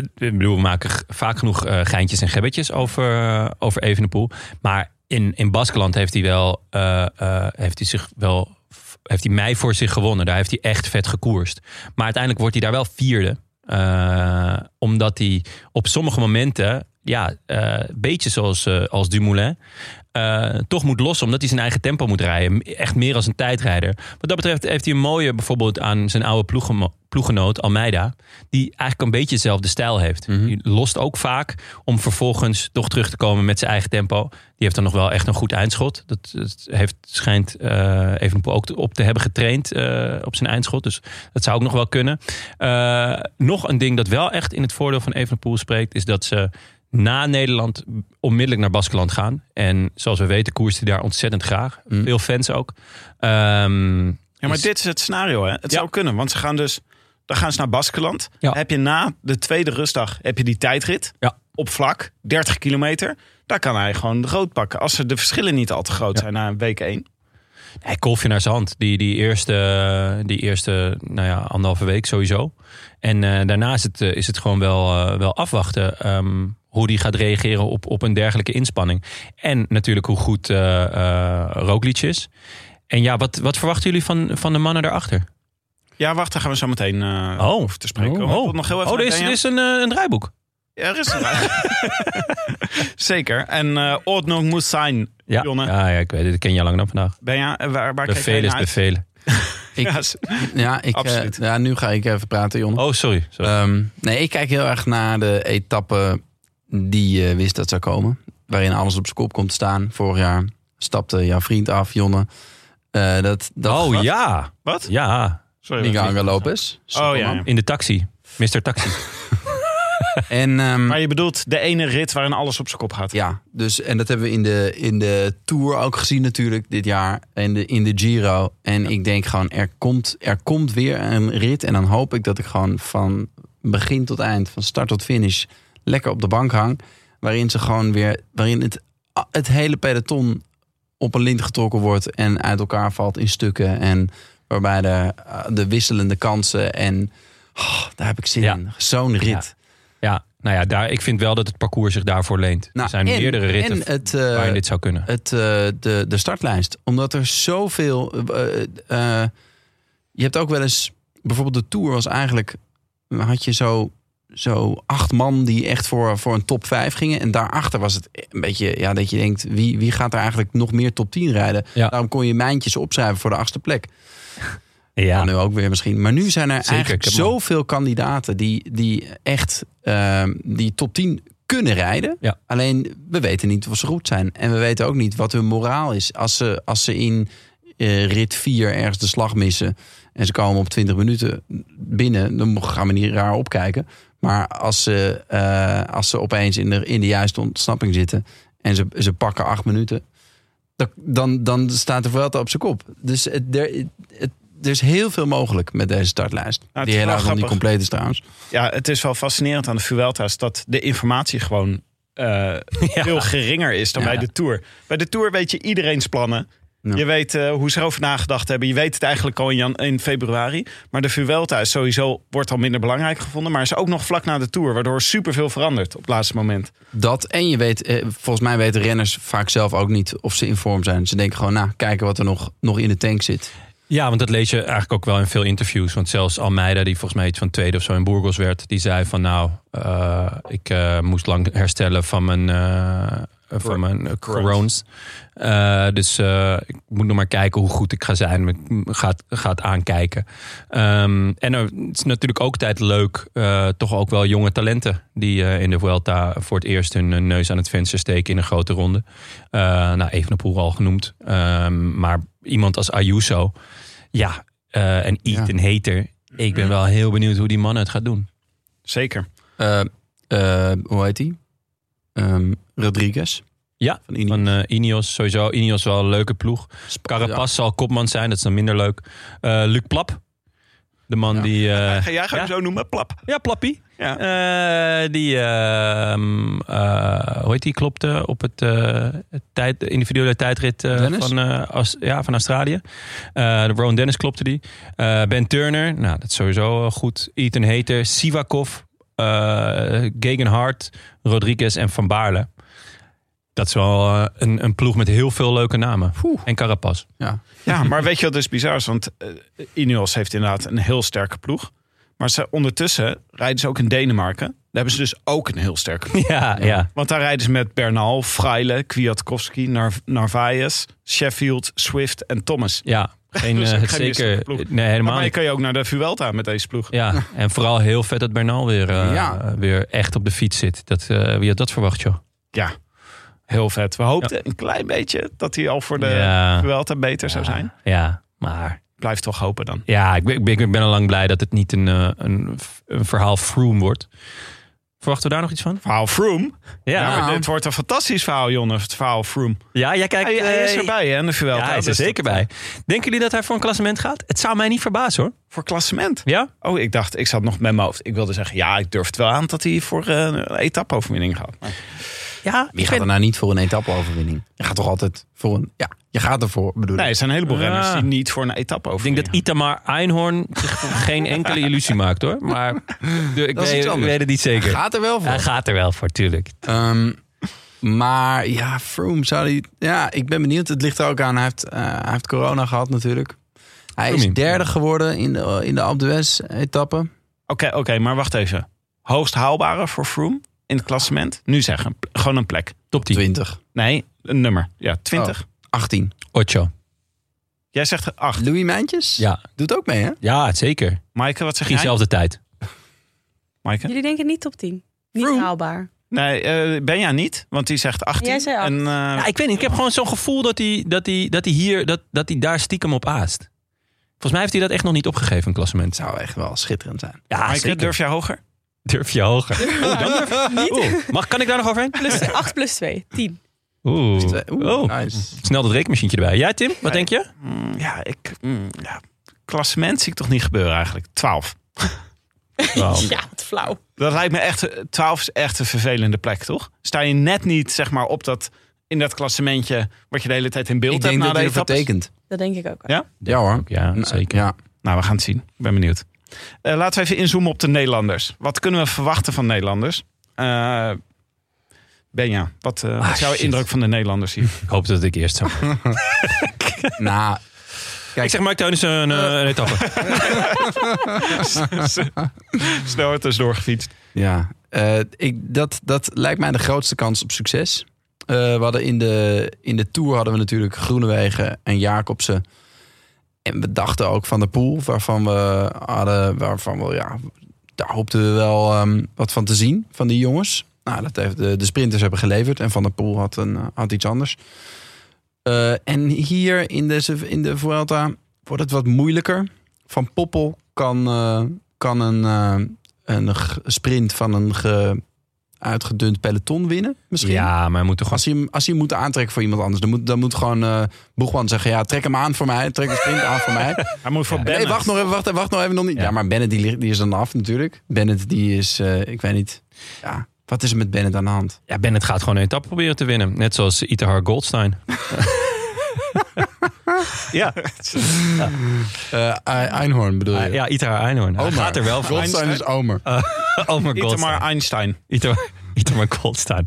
het- ik bedoel, we maken g- vaak genoeg eh, geintjes en gebbetjes over, eh, over Evenepoel. Maar in, in Baskeland heeft hij wel. eh, eh, heeft hij zich wel. Heeft hij mij voor zich gewonnen. Daar heeft hij echt vet gekoerst. Maar uiteindelijk wordt hij daar wel vierde. Eh, omdat hij op sommige momenten. Ja, eh beetje zoals eh, als Dumoulin. eh, toch moet lossen omdat hij zijn eigen tempo moet rijden. Echt meer als een tijdrijder. Wat dat betreft heeft hij een mooie bijvoorbeeld aan zijn oude ploeggemo- ploegenoot Almeida, die eigenlijk een beetje dezelfde stijl heeft. Mhm. Die lost ook vaak om vervolgens toch terug te komen met zijn eigen tempo. Die heeft dan nog wel echt een goed eindschot. Dat, dat heeft, schijnt eh Evenepoel ook te- op te hebben getraind eh, op zijn eindschot. Dus dat zou ook nog wel kunnen. Eh, nog een ding dat wel echt in het voordeel van Evenepoel spreekt, is dat ze na Nederland onmiddellijk naar Baskeland gaan. En zoals we weten koerst hij daar ontzettend graag. Mm. Veel fans ook. Ehm, Ja, maar dus- dit is het scenario, hè? Het zou kunnen, want ze gaan dus... Dan gaan ze naar Baskeland. Ja. Heb je na de tweede rustdag heb je die tijdrit Ja. op vlak, 30 kilometer. Daar kan hij gewoon de rood pakken. Als ze de verschillen niet al te groot zijn na week 1. Hij kolfje naar zijn hand. Die, die eerste, die eerste nou ja, anderhalve week sowieso. En eh, daarna is het, eh, is het gewoon wel, eh, wel afwachten ehm, hoe die gaat reageren op, op een dergelijke inspanning. En natuurlijk hoe goed eh eh, Roglic is. En ja, wat, wat verwachten jullie van, van de mannen daarachter? Ja, wacht, daar gaan we zo meteen eh, Oh. over te spreken. komen. Ik wil nog heel even oh er naar is, er Benja. is een, eh, een draaiboek. Ja, er is een- Zeker. En eh Ordnung moet zijn, Ja, Jonne. ja, ja, ik weet het. Dat ken je langer dan vandaag. Benja, eh, waar, waar kijk jij Bevelen is naar uit? bevelen. Ja, is- Ja, ik, eh, Absoluut. ja, nu ga ik even praten, Jonne. Oh, sorry. sorry. Ehm, nee, ik kijk heel erg naar de etappe die je wist dat zou komen. Waarin alles op zijn kop komt te staan. Vorig jaar stapte jouw vriend af, Jonne. Eh, dat, dat, oh ja. Wat? Ja, Sorry. Miguel wat- Angel Lopez. Oh ja, Superman. ja. in de taxi. Mr. Taxi. En, ehm, Maar je bedoelt de ene rit waarin alles op zijn kop gaat. ja, dus, en dat hebben we in de, in de Tour ook gezien natuurlijk dit jaar. En de, in de Giro. En ik denk gewoon, er komt, er komt weer een rit. En dan hoop ik dat ik gewoon van begin tot eind, van start tot finish... lekker op de bank hang. Waarin ze gewoon weer, waarin het, het hele peloton op een lint getrokken wordt... en uit elkaar valt in stukken. En waarbij de, eh, de wisselende kansen en... oh, daar heb ik zin Ja. in. Zo'n rit. Ja. Ja, nou ja, daar, ik vind wel dat het parcours zich daarvoor leent. Nou, er zijn en- meerdere ritten en het, eh, waarin dit zou kunnen. het, eh, de, de startlijst. Omdat er zoveel. eh, eh, eh, je hebt ook wel eens. Bijvoorbeeld de Tour was eigenlijk. Had je zo, zo acht man die echt voor, voor een top 5 gingen. En daarachter was het een beetje. Ja, dat je denkt. Wie, wie gaat er eigenlijk nog meer top 10 rijden? Ja. Daarom kon je mijntjes opschrijven voor de achtste plek. Ja, Nou, nu ook weer misschien. Maar nu zijn er Zeker, eigenlijk ik heb hem al. zoveel kandidaten die, die echt ehm, die top 10 kunnen rijden. Ja. Alleen we weten niet of ze goed zijn. En we weten ook niet wat hun moraal is. Als ze, als ze in eh, rit 4 ergens de slag missen en ze komen op 20 minuten binnen, dan mo- gaan we niet raar opkijken. Maar als ze, eh, als ze opeens in de, in de juiste ontsnapping zitten en ze, ze pakken acht minuten, dan, dan, dan staat de Vuelta op zijn kop. Dus het, er, het, er is heel veel mogelijk met deze startlijst. Nou, het die is heel wel erg nog niet grappig. compleet is trouwens. Ja, het is wel fascinerend aan de Vuelta is dat de informatie gewoon eh, veel geringer is dan Ja. bij de Tour. Bij de Tour weet je iedereen's plannen. Ja. Je weet eh, hoe ze erover nagedacht hebben. Je weet het eigenlijk al in, jan in februari. Maar de Vuelta is sowieso, wordt al minder belangrijk gevonden. Maar is ook nog vlak na de Tour, waardoor superveel verandert op het laatste moment. Dat en je weet, eh, volgens mij weten renners vaak zelf ook niet of ze in vorm zijn. Ze denken gewoon, nou, kijken wat er nog, nog in de tank zit. ja, want dat lees je eigenlijk ook wel in veel interviews. Want zelfs Almeida, die volgens mij iets van tweede of zo in Burgos werd... die zei van nou, eh, ik eh, moest lang herstellen van mijn, eh van mijn eh, corones. Eh, dus eh, ik moet nog maar kijken hoe goed ik ga zijn. Ik ga het- ga het aankijken. Ehm, en er, het is natuurlijk ook tijd leuk, eh, toch ook wel jonge talenten die eh, in de Vuelta voor het eerst hun eh, neus aan het venster steken in een grote ronde. Eh nou, Evenepoel al genoemd, Ehm, maar iemand als Ayuso, ja, eh, en Ethan Hater. Ik ben wel heel benieuwd hoe die man het gaat doen. Zeker. Eh, eh, hoe heet die? Ehm, Rodriguez. Ja, Van Ineos. Van eh Ineos sowieso. Ineos wel een leuke ploeg. Sp- Carapaz zal kopman zijn, dat is dan minder leuk. Eh, Luc Plap, de man Ja. die... eh, Ga jij gewoon ja. zo noemen? Plap. ja, Plappie. Ja. Eh, die, eh, mm, eh, hoe heet die, klopte op het eh, tijd, de individuele tijdrit eh, Dennis? van, eh, Aus- ja, van Australië. Eh, de Rowan Dennis klopte die. Eh, ben Turner, nou, dat is sowieso eh, goed. Ethan Hater, Sivakov, eh Gegenhardt, Rodriguez en Van Baarle. Dat is wel eh, een, een ploeg met heel veel leuke namen. En Carapaz. Ja. Ja, maar weet je wat dus bizar is? Want eh, Ineos heeft inderdaad een heel sterke ploeg. Maar ze, ondertussen rijden ze ook in Denemarken. Daar hebben ze dus ook een heel sterke ploeg. Ja, ja. Want daar rijden ze met Bernal, Freile, Kwiatkowski, Nar Narvaez, Sheffield, Swift en Thomas. Ja, Geen, Dus eh, geen zeker, misselijke ploeg. nee, helemaal maar je niet. kan je ook naar de Vuelta met deze ploeg. Ja, en vooral heel vet dat Bernal weer, eh, Ja. weer echt op de fiets zit. Dat, eh, wie had dat verwacht, joh? Ja, heel vet. We hoopten een klein beetje dat hij al voor de Ja. Vuelta beter zou zijn. Ja, maar Blijf toch hopen dan. Ja, ik ben, ik ben, ik ben al lang blij dat het niet een, eh, een, een verhaal Froome wordt. Verwachten we daar nog iets van? Verhaal Froome. Ja, Ja, ja, maar dit wordt een fantastisch verhaal, Jonne. Het verhaal Froome. jij kijkt... Hij, hij is eh, erbij, hè, in de Vuelta. Ja, hij is er Dus zeker dat- bij. Denken jullie dat hij voor een klassement gaat? Het zou mij niet verbazen, hoor. Voor klassement. Ja? Oh, ik dacht, ik zat nog met mijn hoofd. Ik wilde zeggen, ja, ik durf het wel aan dat hij voor eh, een etappe-overwinning gaat. Maar Ja, Wie gaat er nou niet voor een etappeoverwinning? Je gaat toch altijd voor een... Ja, je gaat ervoor, bedoel nee, ik. er zijn een heleboel Ja. renners die niet voor een Ik denk etappe-overwinning dat Itamar Einhorn zich geen enkele illusie maakt, hoor. Maar de- ik, Dat is weet, iets ik anders. weet het niet zeker. Gaat er wel voor. Hij gaat er wel voor, tuurlijk. Ehm, maar ja, Froome zou die... Ja, ik ben benieuwd. Het ligt er ook aan. Hij heeft, eh, hij heeft corona gehad natuurlijk. Hij is Froomie. derde geworden in de, in de Alpe d'Huez etappe. Oké, oké, maar wacht even. Hoogst haalbare voor Froome in het klassement? Nu zeggen, p- gewoon een plek. Top 10. 20. Nee, een nummer. Ja, 20. 18. Ocho. Jij zegt 8. Louis Mijntjes? Ja. Doet ook mee, hè? Ja, zeker. Maaike, wat zeg In jij? dezelfde tijd. Maaike? Jullie denken niet top 10. Niet Vroom. haalbaar. Nee, eh, Benja niet, want die zegt 18. Jij zei 8. En, eh, Ja, ik weet niet. Ik heb gewoon zo'n gevoel dat hij, dat hij, dat hij hier, dat, dat hij daar stiekem op aast. Volgens mij heeft hij dat echt nog niet opgegeven, een klassement. Zou echt wel schitterend zijn. Ja, Maaike, durf jij hoger? durf je hoger. Oeh, Oh, dan durf- Oeh, mag, kan ik daar nog overheen? Plus 8 plus 2, 10. Oeh. Oeh, Oh, nice. Snel dat rekenmachientje erbij. Jij, Tim? Wat denk je? Mm, ja, ik... mm, ja. Klassement zie ik toch niet gebeuren eigenlijk. 12. Wow. Ja, wat flauw. Dat lijkt me echt... 12 is echt een vervelende plek, toch? Sta je net niet, zeg maar, op dat... In dat klassementje wat je de hele tijd in beeld Ik hebt denk na dat de hij ervoor etappes. tekent. Dat denk ik ook wel. Ja? Ja hoor. Ja, zeker. Ja. Nou, we gaan het zien. Ik ben benieuwd. Eh, laten we even inzoomen op de Nederlanders. Wat kunnen we verwachten van Nederlanders? Eh, Benja, wat, eh, wat Ah, is jouw shit. indruk van de Nederlanders hier? Ik hoop dat ik eerst zou. Nou, Ik zeg Mark Teunissen een, eh, een etappe. Snel het is doorgefietst. Ja, eh, ik, dat, dat lijkt mij de grootste kans op succes. Eh, we hadden in de, in de Tour hadden we natuurlijk Groenewegen en Jacobsen. En we dachten ook van de pool, waarvan we hadden, waarvan we, ja, daar hoopten we wel ehm, wat van te zien van die jongens. Nou, dat heeft de, de sprinters hebben geleverd en Van der Poel had, een, eh, had iets anders. Eh, en hier in, deze, in de Vuelta wordt het wat moeilijker. Van Poppel kan, eh, kan een, eh, een g- sprint van een ge- uitgedund peloton winnen. Misschien. Ja, maar hij moet toch gewoon. Als hij, hem, als hij hem moet aantrekken voor iemand anders, dan moet, dan moet gewoon eh Boegman zeggen: Ja, trek hem aan voor mij, trek de sprint aan voor mij. Hij moet voor Nee, wacht nog even, wacht, even, wacht nog even nog niet. Ja, Ja. maar Bennett die, ligt- die is dan af natuurlijk. Bennett die is, eh, ik weet niet. Ja, wat is er met Bennett aan de hand? Ja, Bennett gaat gewoon een etappe proberen te winnen. Net zoals Itahar Goldstein. Ja. Eh, Ei- Einhorn bedoel je? Ah, Ja, Itahar Einhorn. Hij Omar. gaat er wel voor. Goldstein is Omer. Oh, maar Itamar Goldstein. Einstein. Itahar- Itahar Goldstein.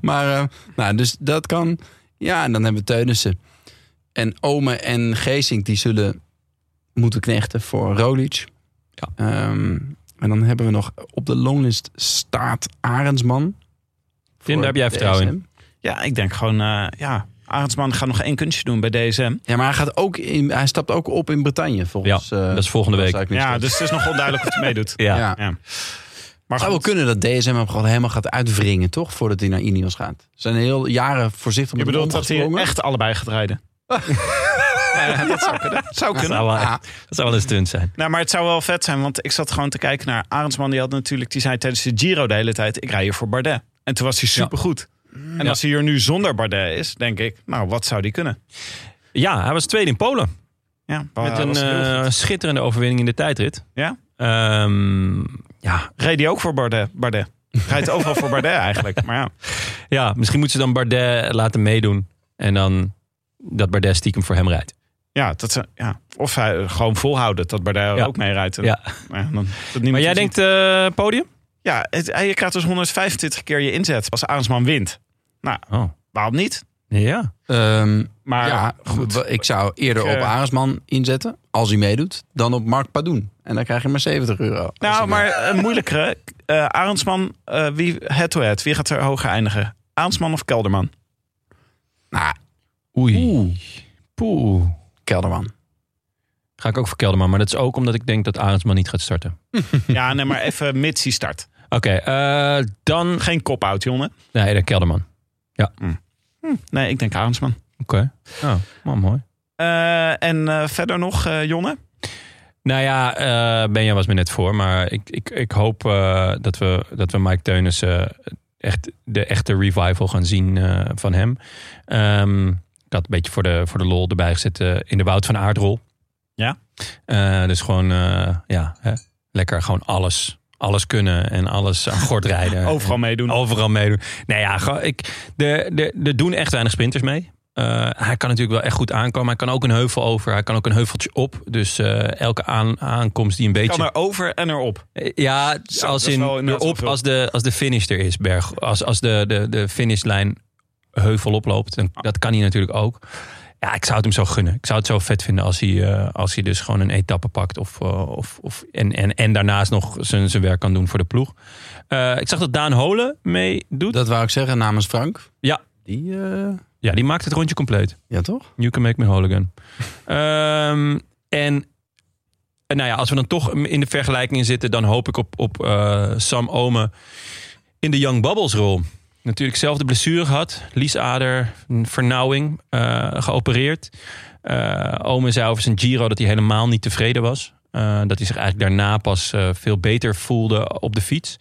Maar, eh, nou, dus dat kan. Ja, en dan hebben we Teunissen. En Ome en Geesink, die zullen moeten knechten voor Rolic. Ja. Ehm, en dan hebben we nog op de longlist staat Arendsman. Tim, Voor E daar heb jij DSM. vertrouwen in. Ja, ik denk gewoon... eh, ja, Arendsman gaat nog één kunstje doen bij DSM. Ja, maar hij, gaat ook in, hij stapt ook op in Bretagne, volgens... eh, Dat is volgende volgens week. Zuid-Minster. Ja, dus het is nog onduidelijk of hij meedoet. Ja. Ja. Ja. Maar Het zou wel goed, kunnen dat DSM hem gewoon helemaal gaat uitwringen, toch? Voordat hij naar Ineos gaat. Ze zijn heel jaren voorzichtig je met hem bedoelt dat hij omgesprongen. echt allebei gaat rijden? ja, dat zou kunnen. Zou Dat kunnen. zou, wel, dat zou wel een stunt zijn. Nou, maar het zou wel vet zijn, want ik zat gewoon te kijken naar Arendsman. Die had natuurlijk, die zei tijdens de Giro de hele tijd: ik rij hier voor Bardet. En toen was hij supergoed. En Mm. Ja. als hij hier nu zonder Bardet is, denk ik, nou, wat zou die kunnen? Ja, hij was tweede in Polen. Oh, Ja, Met hij een was heel eh, goed. schitterende overwinning in de tijdrit. Ja? Ehm, ja. reed hij ook voor Bardet? Bardet. Rijdt overal voor Bardet eigenlijk. Maar ja, ja, misschien moeten ze dan Bardet laten meedoen. En dan dat Bardet stiekem voor hem rijdt. ja, dat ze, ja. of hij gewoon volhouden dat Bardet er Ja. ook mee rijdt. En- Ja. Maar, ja, dan, dat Maar niemand jij hem denkt eh, podium? ziet. Ja, het, hij- je krijgt dus 125 keer je inzet als Arendsman wint. Nou, Oh, waarom niet? ja. Ehm, Maar ja, goed. w- Ik zou eerder Ik, eh, op Arendsman inzetten, als hij meedoet, dan op Mark Padoen. En dan krijg je maar 70 euro. Als hij Nou, meedoet. maar een moeilijkere. Eh Arendsman, eh, wie head-to-head? Wie gaat er hoger eindigen? Arendsman of Kelderman? Nou, Oei. Poeh. Kelderman. Ga ik ook voor Kelderman. Maar dat is ook omdat ik denk dat Arendsman niet gaat starten. Ja, nee, maar even mits die start. Oké, eh, dan... Geen kop-out, jongen. Nee, de Kelderman. Nee, ik denk Arendsman. Oké. Oh, wel mooi. Eh, en eh, verder nog, eh Jonne? Nou ja, eh Benja was me net voor. Maar ik, ik, ik hoop eh, dat, we, dat we Mike Teunissen... echt, de echte revival gaan zien eh, van hem. Ehm, ik had een beetje voor de, voor de lol erbij gezet eh, in de Wout van Aardrol. Ja. Eh, dus gewoon, eh, ja, hè, lekker gewoon alles. Alles kunnen en alles aan gort rijden. Overal meedoen. Overal meedoen. Nou ja, gewoon, ik, er de, de doen echt weinig sprinters mee. Eh, hij kan natuurlijk wel echt goed aankomen. Hij kan ook een heuvel over. Hij kan ook een heuveltje op. Dus eh, elke aan, aankomst die een Kan beetje... er over en erop. Eh, Ja, Zo, als dat is in, wel inderdaad wel op veel. als de, als de finish er is, Berg. Als, als de, de, de finishlijn heuvel oploopt, dan, dat kan hij natuurlijk ook. Ja, ik zou het hem zo gunnen. Ik zou het zo vet vinden als hij, eh, als hij dus gewoon een etappe pakt. Of, eh, of, of, en, en, en daarnaast nog zijn, zijn werk kan doen voor de ploeg. Eh, ik zag dat Daan Holen meedoet. Dat wou ik zeggen namens Frank. Ja. Die, eh, Ja, die maakt het rondje compleet. ja toch? You can make me whole again. Ehm, en eh, nou ja, als we dan toch in de vergelijking zitten, dan hoop ik op, op eh, Sam Ome in de Young Bubbles rol. Natuurlijk zelf de blessure gehad. Liesader, een vernauwing, eh, geopereerd. Eh Ome zei over zijn Giro dat hij helemaal niet tevreden was. Eh, dat hij zich eigenlijk daarna pas eh, veel beter voelde op de fiets.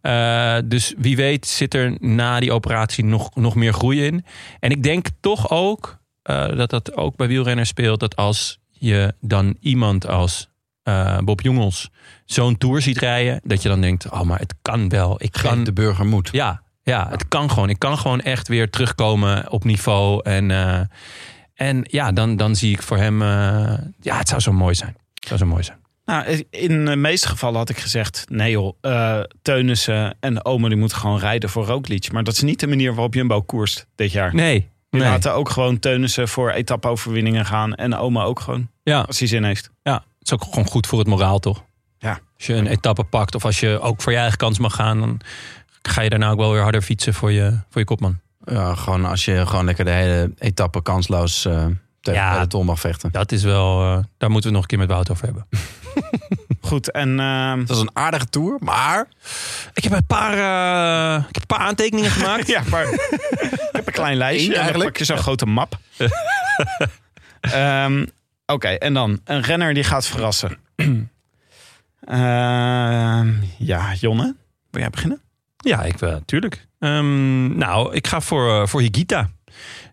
Eh, dus wie weet zit er na die operatie nog, nog meer groei in. En ik denk toch ook eh, dat dat ook bij wielrenners speelt. Dat als je dan iemand als eh, Bob Jongels zo'n tour ziet rijden. Dat je dan denkt, oh maar het kan wel. Ik Geef kan, de burger moed. ja, ja, het kan gewoon. Ik kan gewoon echt weer terugkomen op niveau. En, eh, en ja, dan, dan zie ik voor hem... eh, ja, het zou zo mooi zijn. Het zou zo mooi zijn. Nou, in de meeste gevallen had ik gezegd... nee joh, eh, Teunissen en Omer die moeten gewoon rijden voor Roglic. Maar dat is niet de manier waarop Jumbo koerst dit jaar. Nee, Die nee. laten ook gewoon Teunissen voor etappe-overwinningen gaan. En Oma ook gewoon, Ja, als hij zin heeft. ja, het is ook gewoon goed voor het moraal, toch? Ja. Als je een etappe pakt of als je ook voor je eigen kans mag gaan... dan ga je daarna ook wel weer harder fietsen voor je, voor je kopman. Ja, gewoon als je gewoon lekker de hele etappe kansloos eh, tegen Ja. de peloton mag vechten. Dat is wel... eh, daar moeten we het nog een keer met Wout over hebben. Goed, en ehm, Het was een aardige tour, maar Ik heb een paar, eh, ik heb een paar aantekeningen gemaakt. Ja, maar ik heb een klein lijstje. Eén en dan eigenlijk. pak je zo'n grote map. Ehm, Oké, en dan een renner die gaat verrassen. Ehm, ja, Jonne, wil jij beginnen? Ja, ik wel, tuurlijk. Ehm, nou, ik ga voor, eh, voor Higita.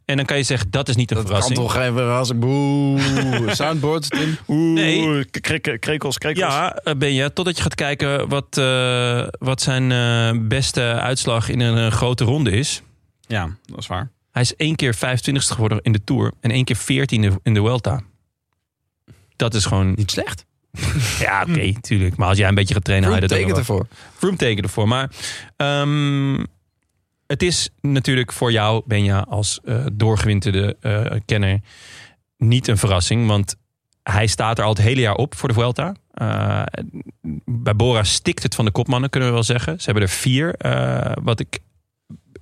En dan kan je zeggen, dat is niet een dat verrassing. kan toch geen verrassing. Boe, soundboard. Tim. Oeh, Nee. k- krikke- krekels, krekels. Ja, eh, ben je. Totdat je gaat kijken wat, eh, wat zijn eh, beste uitslag in een eh, grote ronde is. ja, dat is waar. Hij is één keer 25ste geworden in de Tour. En één keer 14e in de Welta. Dat is gewoon... Niet slecht. Ja, oké, tuurlijk. Maar als jij een beetje gaat trainen... Nou, haal je dat dat ook tekent wel. ervoor. Vroom tekende voor. Maar ehm, het is natuurlijk voor jou, Benja, als eh, doorgewinterde eh, kenner, niet een verrassing. Want hij staat er al het hele jaar op voor de Vuelta. Eh, bij Bora stikt het van de kopmannen, kunnen we wel zeggen. Ze hebben er vier. eh, wat ik,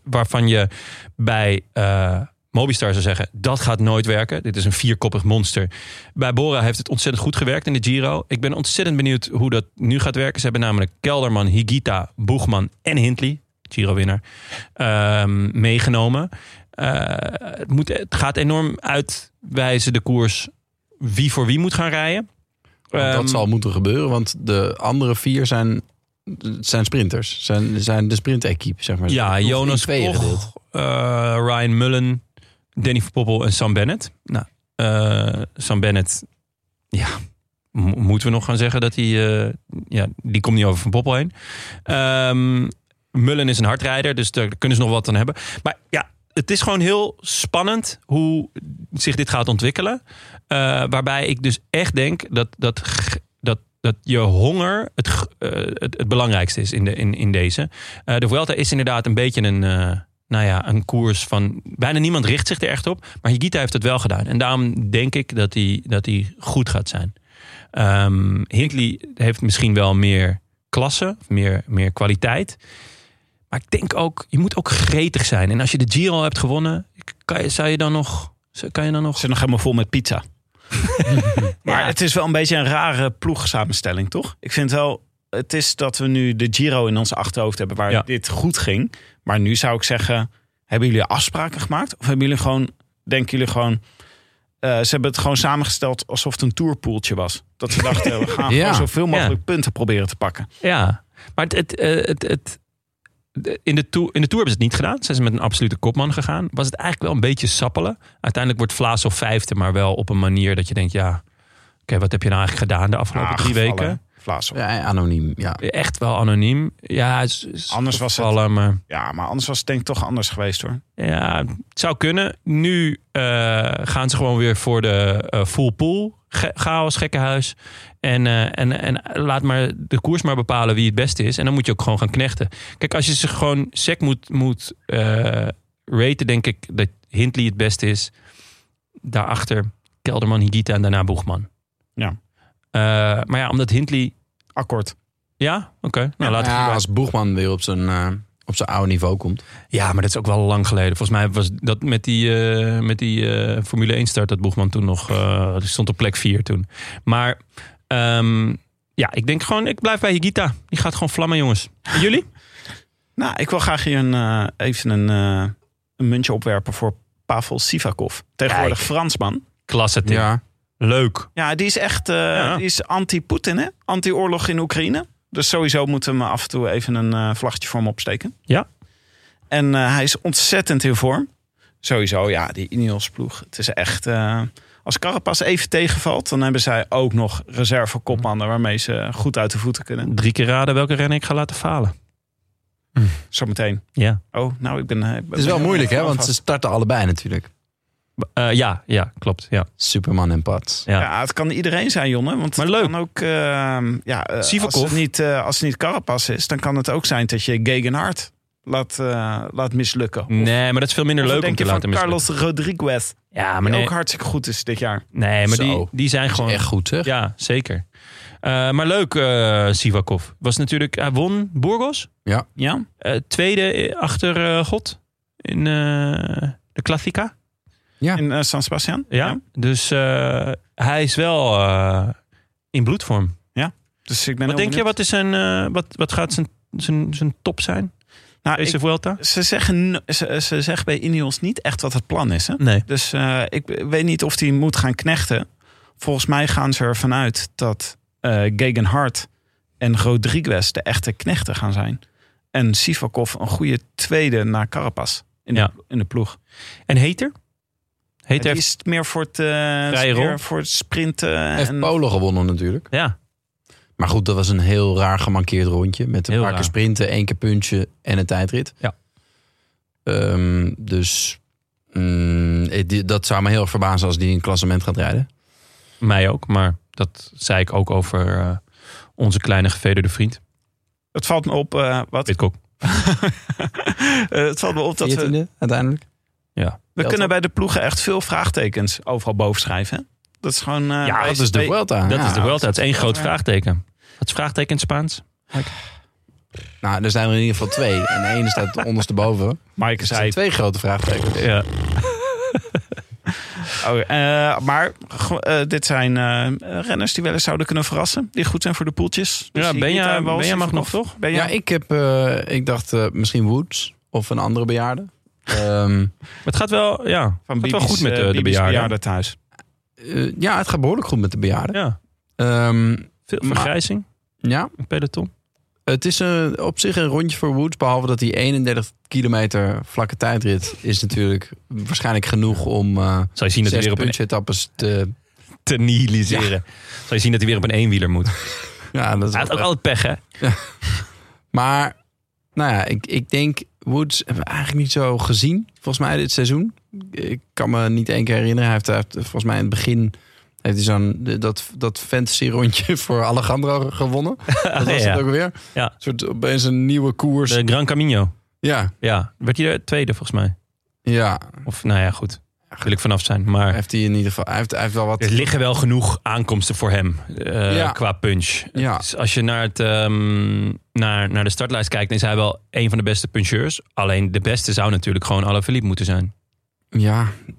waarvan je bij eh, Mobistar zou zeggen, dat gaat nooit werken. Dit is een vierkoppig monster. Bij Bora heeft het ontzettend goed gewerkt in de Giro. Ik ben ontzettend benieuwd hoe dat nu gaat werken. Ze hebben namelijk Kelderman, Higita, Boegman en Hindley, Giro-winnaar, ehm, meegenomen. Eh, het, moet, het gaat enorm uitwijzen, de koers, wie voor wie moet gaan rijden. Want Ehm, Nou, dat zal moeten gebeuren, want de andere vier zijn, zijn sprinters. Zijn, zijn de sprint-equipe, zeg maar. Ja, Hoeft in Jonas tweeën gedeeld. Koch, eh, Ryan Mullen, Danny van Poppel en Sam Bennett. Nou, eh, Sam Bennett, ja, mo- moeten we nog gaan zeggen dat hij, eh, ja, die komt niet over Van Poppel heen. Ehm, Mullen is een hardrijder, dus daar kunnen ze nog wat aan hebben. Maar ja, het is gewoon heel spannend hoe zich dit gaat ontwikkelen. Eh, waarbij ik dus echt denk dat, dat, g- dat, dat je honger het, g- eh, het, het belangrijkste is in, de, in, in deze. Eh, de Vuelta is inderdaad een beetje een, eh, nou ja, een koers van... Bijna niemand richt zich er echt op. Maar Higita heeft het wel gedaan. En daarom denk ik dat hij dat die goed gaat zijn. Ehm Hindley heeft misschien wel meer klasse, meer, meer kwaliteit. Maar ik denk ook, je moet ook gretig zijn. En als je de Giro hebt gewonnen, kan je, zou je dan nog... Kan je dan nog Ze zijn nog helemaal vol met pizza. Maar het is wel een beetje een rare ploegsamenstelling, toch? Ik vind wel, het is dat we nu de Giro in ons achterhoofd hebben waar Ja. dit goed ging. Maar nu zou ik zeggen, hebben jullie afspraken gemaakt? Of hebben jullie gewoon, denken jullie gewoon... eh, ze hebben het gewoon samengesteld alsof het een tourpoeltje was. Dat ze dachten, we gaan Ja. gewoon zoveel mogelijk punten proberen te pakken. Ja, maar het, het, eh, het, het- de- in, de tour, in de Tour hebben ze het niet gedaan. Zijn ze met een absolute kopman gegaan. Was het eigenlijk wel een beetje sappelen. Uiteindelijk wordt Vlaas of vijfde, maar wel op een manier dat je denkt... ja, oké, wat heb je nou eigenlijk gedaan de afgelopen drie Gevallen, weken? hè? Vlaas. Ja, eh, anoniem, ja. Echt wel anoniem. Ja, is- is Anders was het- gevallen, maar Ja, maar anders was het denk ik toch anders geweest hoor. ja, het zou kunnen. Nu eh, gaan ze gewoon weer voor de eh, full pool. Ge chaos, gekkenhuis. En, eh, en, en laat maar de koers maar bepalen wie het beste is. En dan moet je ook gewoon gaan knechten. Kijk, als je ze gewoon sec moet, moet eh, raten, denk ik dat Hindley het beste is. Daarachter Kelderman, Higita en daarna Boegman. Ja. Eh, maar ja, omdat Hindley... Akkoord. Ja, oké. Nou, laten we ja, als Boegman weer op zijn, eh, op zijn oude niveau komt. Ja, maar dat is ook wel lang geleden. Volgens mij was dat met die, eh, met die eh, Formule 1 start dat Boegman toen nog eh, die stond op plek 4 toen. Maar ehm, ja, ik denk gewoon, ik blijf bij Higita. Die gaat gewoon vlammen, jongens. En Jullie? Nou, ik wil graag hier een, eh, even een, eh, een muntje opwerpen voor Pavel Sivakov. Tegenwoordig Kijk. Fransman. Klasse team. Ja. Leuk. Ja, die is echt eh, Ja. die is anti-Poetin, hè? Anti-oorlog in Oekraïne. Dus sowieso moeten we hem af en toe even een eh, vlaggetje voor hem opsteken. Ja. En eh, hij is ontzettend in vorm. Sowieso, ja, die Ineos-ploeg. Het is echt... eh, als Carapaz even tegenvalt, dan hebben zij ook nog reserve-kopmannen... waarmee ze goed uit de voeten kunnen. Drie keer raden welke renner ik ga laten falen. Zometeen. Ja, Oh, nou, ik ben... eh, ik ben- Het is wel moeilijk, hè? Want ze starten allebei natuurlijk. Eh, ja, ja klopt. Ja, Superman en Pat. ja. Ja, het kan iedereen zijn, Jonne. Want Maar het leuk. kan ook... ehm, ja, eh, Sivakov. Als het, niet, eh, als het niet Carapaz is, dan kan het ook zijn dat je Gegenhard laat, eh, laat mislukken. Of- Nee, maar dat is veel minder of leuk om denk te je van laten mislukken. Carlos Rodriguez, Ja, die maar nee, ook hartstikke goed is dit jaar. nee maar die, Zo. die zijn Dat gewoon... is echt goed, zeg. Ja, zeker. Eh, maar leuk, eh, Sivakov. Was natuurlijk, hij won Burgos. Ja? Eh, tweede achter eh, God in eh, de Classica. In eh, San Sebastian. Ja. Dus eh, hij is wel eh, in bloedvorm. Dus ik ben Wat heel denk je, benieuwd. wat, is zijn, eh, wat, wat gaat zijn, zijn, zijn top zijn? Nou, Deze ik- Vuelta? ze, zeggen, no- ze, ze zeggen bij Ineos niet echt wat het plan is, hè? Nee. Dus eh, ik weet niet of hij moet gaan knechten. Volgens mij gaan ze ervan uit dat eh Gegenhard en Rodriguez de echte knechten gaan zijn. En Sivakov een goede tweede na Carapaz in, Ja. de, in de ploeg. En Heter? Het Heter heeft... is meer voor het, eh Vrije rol. meer voor het sprinten. Heeft en, Polen gewonnen natuurlijk. Ja, Maar goed, dat was een heel raar gemankeerd rondje. Met een Heel paar raar. keer sprinten, één keer puntje en een tijdrit. Ja. Ehm, dus mm, eh, die- dat zou me heel erg verbazen als die in het klassement gaat rijden. mij ook. Maar dat zei ik ook over eh, onze kleine gevederde vriend. het valt me op, eh, wat, Witkok. Eh, het valt me op dat we, 14e uiteindelijk. we Telt kunnen op. bij de ploegen echt veel vraagtekens overal boven schrijven. hè? Dat is gewoon... eh, Ja, bij- Dat is de bij- Vuelta. Dat ja. is de Vuelta. Het is één dat is groot waar. vraagteken. Wat is vraagteken in het Spaans? Nou, er zijn er in ieder geval twee. En één staat ondersteboven. Mike Er zijn zei, twee grote vraagtekens. Ja. Oh, eh, maar go- eh, dit zijn eh, renners die wel eens zouden kunnen verrassen. Die goed zijn voor de poeltjes. Dus Ja, die Benja- Guita en Wals, Benja mag die nog, verkocht. Benja, Ja, ik, heb, eh, ik dacht eh, misschien Woods of een andere bejaarde. Ehm, Maar het gaat wel, ja, het van gaat wel Bibi's, goed met eh, eh, de Bibi's bejaarden. thuis. eh, ja, het gaat behoorlijk goed met de bejaarden. Ja, Ehm, veel Maar- vergrijzing, ja, een peloton. Het is een, op zich een rondje voor Woods. Behalve dat die 31 kilometer vlakke tijdrit is natuurlijk waarschijnlijk genoeg om eh Zal je zien dat hij zes weer op een puntsetappes te... te nihiliseren. Zal je zien dat hij weer op een eenwieler moet. Ja, dat is Hij had ook wel- altijd pech, hè? Maar nou ja, ik, ik denk Woods hebben we eigenlijk niet zo gezien volgens mij dit seizoen. Ik kan me niet één keer herinneren. Hij heeft, hij heeft volgens mij in het begin heeft hij zo'n dat, dat fantasy rondje voor Alejandro gewonnen. Dat was Ja. het ook weer. Ja. Een soort opeens een nieuwe koers. De Gran Camino. Ja, Ja, werd hij er tweede volgens mij. ja. Of nou ja, goed. Daar wil ik vanaf zijn. Maar Heeft hij in ieder geval. Hij heeft, hij heeft wel wat. er liggen wel genoeg aankomsten voor hem eh, Ja. qua punch. Ja. Dus als je naar, het, ehm, naar, naar de startlijst kijkt, dan is hij wel een van de beste puncheurs. Alleen de beste zou natuurlijk gewoon Alaphilippe moeten zijn. Ja,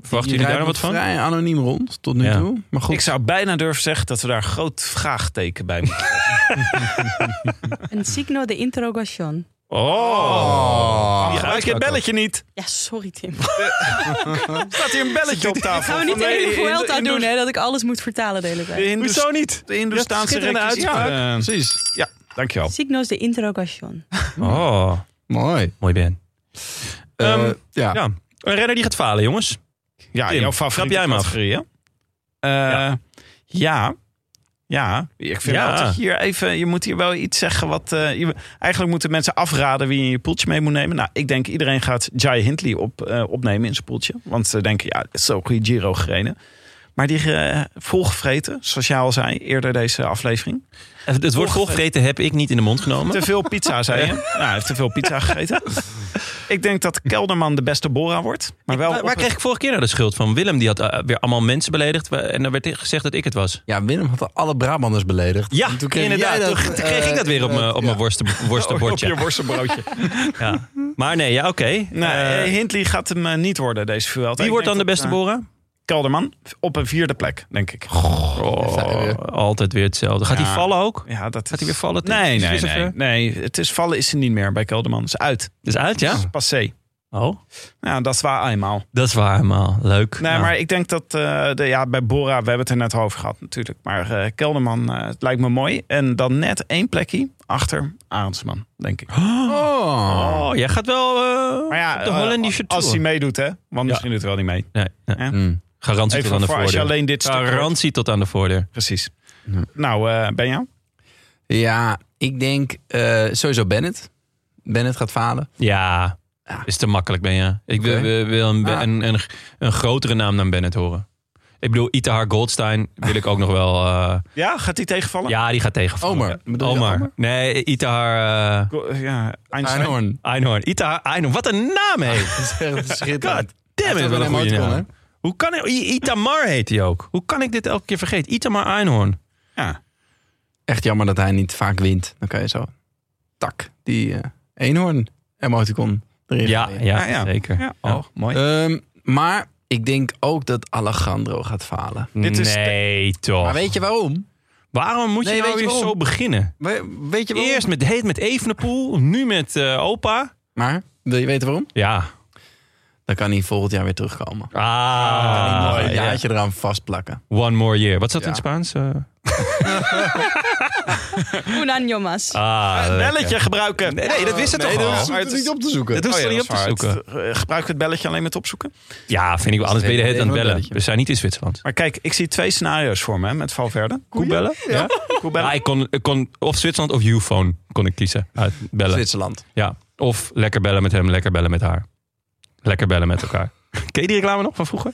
Verwachten je jullie daar rijdt nog wat van? vrij anoniem rond tot nu Ja. toe. Maar goed, Ik zou bijna durven zeggen dat we daar een groot vraagteken bij moeten. Een signo de interrogation. Oh, die gebruik je gebruikt je je belletje niet. Ja, sorry Tim. Staat hier een belletje op tafel? Gaan we niet de Nee, hele in de- Vuelta in de- doen, hè? Dat ik alles moet vertalen de hele tijd. de Hindoes- Hoezo niet? De Hindoestaanse Ja, schitterende rekjes. uitspraak. Ja, eh, precies. ja, dankjewel. Signos de interrogation. Oh, Mooi. mooi Ben. Eh, Ehm, ja. Ja, een renner die gaat falen, jongens. Ja, Tim, jouw trap favoriete jij hem af. Eh, categorie, hè? ja. ja. Ja, ik vind Ja. wel dat je hier even... Je moet hier wel iets zeggen wat... eh, je- eigenlijk moeten mensen afraden wie je in je poeltje mee moet nemen. Nou, ik denk iedereen gaat Jai Hindley op, eh, opnemen in zijn poeltje. Want ze denken, ja, het is zo'n goede Giro gereden. Maar die eh, volgevreten, zoals jij al zei eerder deze aflevering. Het woord volgevreten heb ik niet in de mond genomen. Te veel pizza, zei je. Nou, hij heeft te veel pizza gegeten. ik denk dat Kelderman de beste Bora wordt. Maar wel Waar, op waar een- kreeg ik vorige keer nou de schuld van? Willem die had eh, weer allemaal mensen beledigd. wa- En dan werd tegen- gezegd dat ik het was. ja, Willem had alle Brabanders beledigd. Ja, En toen kreeg inderdaad. jij Toen dat, g- toen kreeg ik dat weer op eh, mijn op mijn ja. worsten- worstenbordje. Op je worstenbroodje. Ja. Maar nee, ja, oké. Nee, Eh, Hindley gaat hem eh, niet worden, deze Vuelta. wie Ik wordt dan denk de dat, beste eh, Bora? Kelderman, op een vierde plek, denk ik. Oh, altijd weer hetzelfde. Gaat Ja. hij vallen ook? Ja, dat Gaat is... hij weer vallen? Nee, Is nee, het weer nee, zover? nee. Het is vallen is ze niet meer bij Kelderman. Is uit. Dus uit, ja? Is passé. Oh, Ja, dat is waar eenmaal. dat is waar, man. Leuk. Nee, Nou, maar ik denk dat eh, de, ja, bij Bora, we hebben het er net over gehad natuurlijk. Maar eh, Kelderman, eh, het lijkt me mooi. En dan net één plekje achter Arendsman, denk ik. Oh. Oh, jij gaat wel eh, Maar ja, op de eh, Hollandische als hij tour. meedoet, hè? Want misschien doet hij wel niet mee. Nee, nee. Hm. Garantie Even tot aan de voor als je voordeur. alleen dit stuk hoort. Garantie tot aan de voordeur. Precies. Hm. Nou, eh Benja? Ja, ik denk eh, sowieso Bennett. Bennett gaat falen. Ja, Ja. is te makkelijk, ben je. Ik wil, Oké. wil- wil een, Ah. een, een, een grotere naam dan Bennett horen. Ik bedoel, Itahar Goldstein wil ik ook nog wel... eh, Ja, gaat hij tegenvallen? ja, die gaat tegenvallen. Omar, bedoel je Omar. Omar? Nee, Itahar eh, Go- Ja, Einstein. Einhorn. Einhorn. Itahar Einhorn. Wat een naam, hé. Dat is echt schitterend. God damn it, Dat wat is een wel goede een emoticon, naam. Hoe kan ik... I- Itamar heet hij ook. Hoe kan ik dit elke keer vergeten? Itamar Einhorn. Ja. Echt jammer dat hij niet vaak wint. Dan kan je zo... Tak, die eh eenhoorn emoticon erin. Ja, gooien. ja, Ah, ja. zeker. Ja. Ja. Oh, mooi. Ehm, maar ik denk ook dat Alejandro gaat falen. Dit is de- nee, toch. Maar weet je waarom? Waarom moet Nee, je nou weet je weer waarom? zo beginnen? We- weet je waarom? Eerst met, heet met Evenepoel, nu met eh, opa. Maar, wil je weten waarom? Ja. Dan kan hij volgend jaar weer terugkomen. Ah, Dan kan hij nog een ja. jaartje eraan vastplakken. One more year. Wat zat Ja. in het Spaans? Eh, Un año más. ah, lekker. Belletje gebruiken. Nee, dat wist het Nee, toch dat al? hoeft Maar het het niet is- op te zoeken. Dat hoeft Oh ja, er niet op dat is te waar. zoeken. Het, eh, gebruik het belletje alleen met opzoeken. Ja, vind ik wel. Anders ben je de hele tijd aan het bellen. We zijn niet in Zwitserland. Maar kijk, ik zie twee scenario's voor me hè, met Valverde. Koebellen? Ja. Koebellen. Ah, ik, kon, ik kon of Zwitserland of Uphone kon ik kiezen. Uit bellen. Zwitserland. Ja. Of lekker bellen met hem, lekker bellen met haar. Lekker bellen met elkaar. Ken je die reclame nog van vroeger?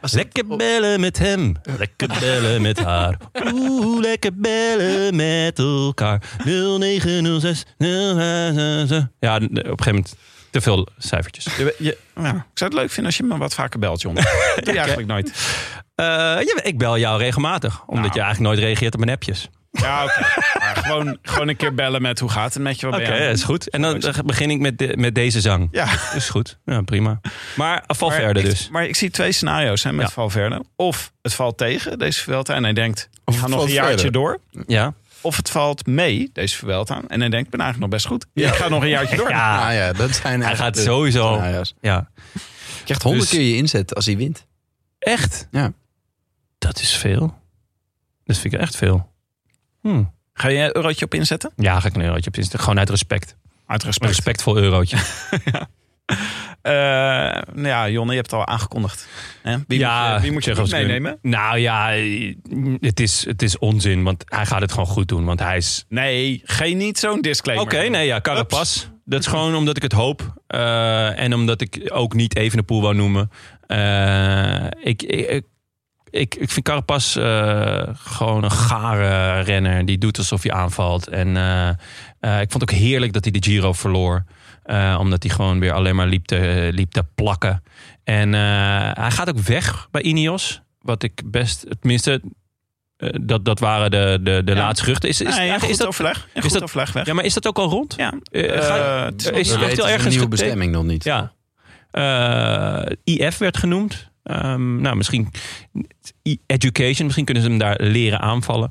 Lekker bellen met hem, lekker bellen met haar. Oeh, lekker bellen met elkaar. 0906 0566. Ja, op een gegeven moment te veel cijfertjes. Je- je- ja, ik zou het leuk vinden als je me wat vaker belt, John. Dat doe je eigenlijk nooit. Eh, ja, ik bel jou regelmatig, omdat Nou. je eigenlijk nooit reageert op mijn appjes. Ja, oké. Maar gewoon, gewoon een keer bellen met hoe gaat het met je? Wat Oké, ben je aan dat het is goed. En dan eh, begin ik met, de- met deze zang. doen? Ja. Is goed, ja, prima. Maar Maar Valverde ik- dus. Maar ik zie twee scenario's hè, met Ja. Valverde. Of het valt tegen, deze Vuelta, en hij denkt, we het gaan nog een valt jaartje verder. door. Ja. Of het valt mee, deze Vuelta, en hij denkt, ik ben eigenlijk nog best goed. Ik ga nog een jaartje door. Ja, Ah ja, dat zijn hij echt gaat de sowieso. scenario's. Ja. Je krijgt honderd Dus- keer je inzet als hij wint. Echt? Ja. Dat is veel. Dat vind ik echt veel. Hm. Ga je een eurotje op inzetten? Ja, ga ik een eurotje op inzetten. Gewoon uit respect. Uit Een respect. respectvol eurotje. Eh, nou ja, Jonne, je hebt het al aangekondigd. Hè? Wie moet je, wie moet je Tsjechos niet kunnen. meenemen? Nou ja, eh, het is, het is onzin. Want hij gaat het gewoon goed doen. Want hij is... Nee, geen niet zo'n Oké, disclaimer. nee ja, Carapaz. Dat is gewoon omdat ik het hoop. eh, en omdat ik ook niet even de poel wou noemen. Eh, ik, ik, ik, ik vind Carapaz eh, gewoon een gare renner. Die doet alsof hij aanvalt. En eh, eh, ik vond het ook heerlijk dat hij de Giro verloor. Eh, omdat hij gewoon weer alleen maar liep te, liep te plakken. En eh, hij gaat ook weg bij Ineos. Wat ik best, tenminste, eh, dat, dat waren de, de, de Ja. laatste geruchten. Is, is, Is, ja, is goed dat, overleg. Een is goed dat- overleg weg. ja, maar is dat ook al rond? Ja. Eh, ga- Eh, het is nog- is- We echt weten wel zijn ergens getekend? nieuwe bestemming nog niet. Ja. Eh, IF werd genoemd. Ehm, nou, misschien e- education, misschien kunnen ze hem daar leren aanvallen.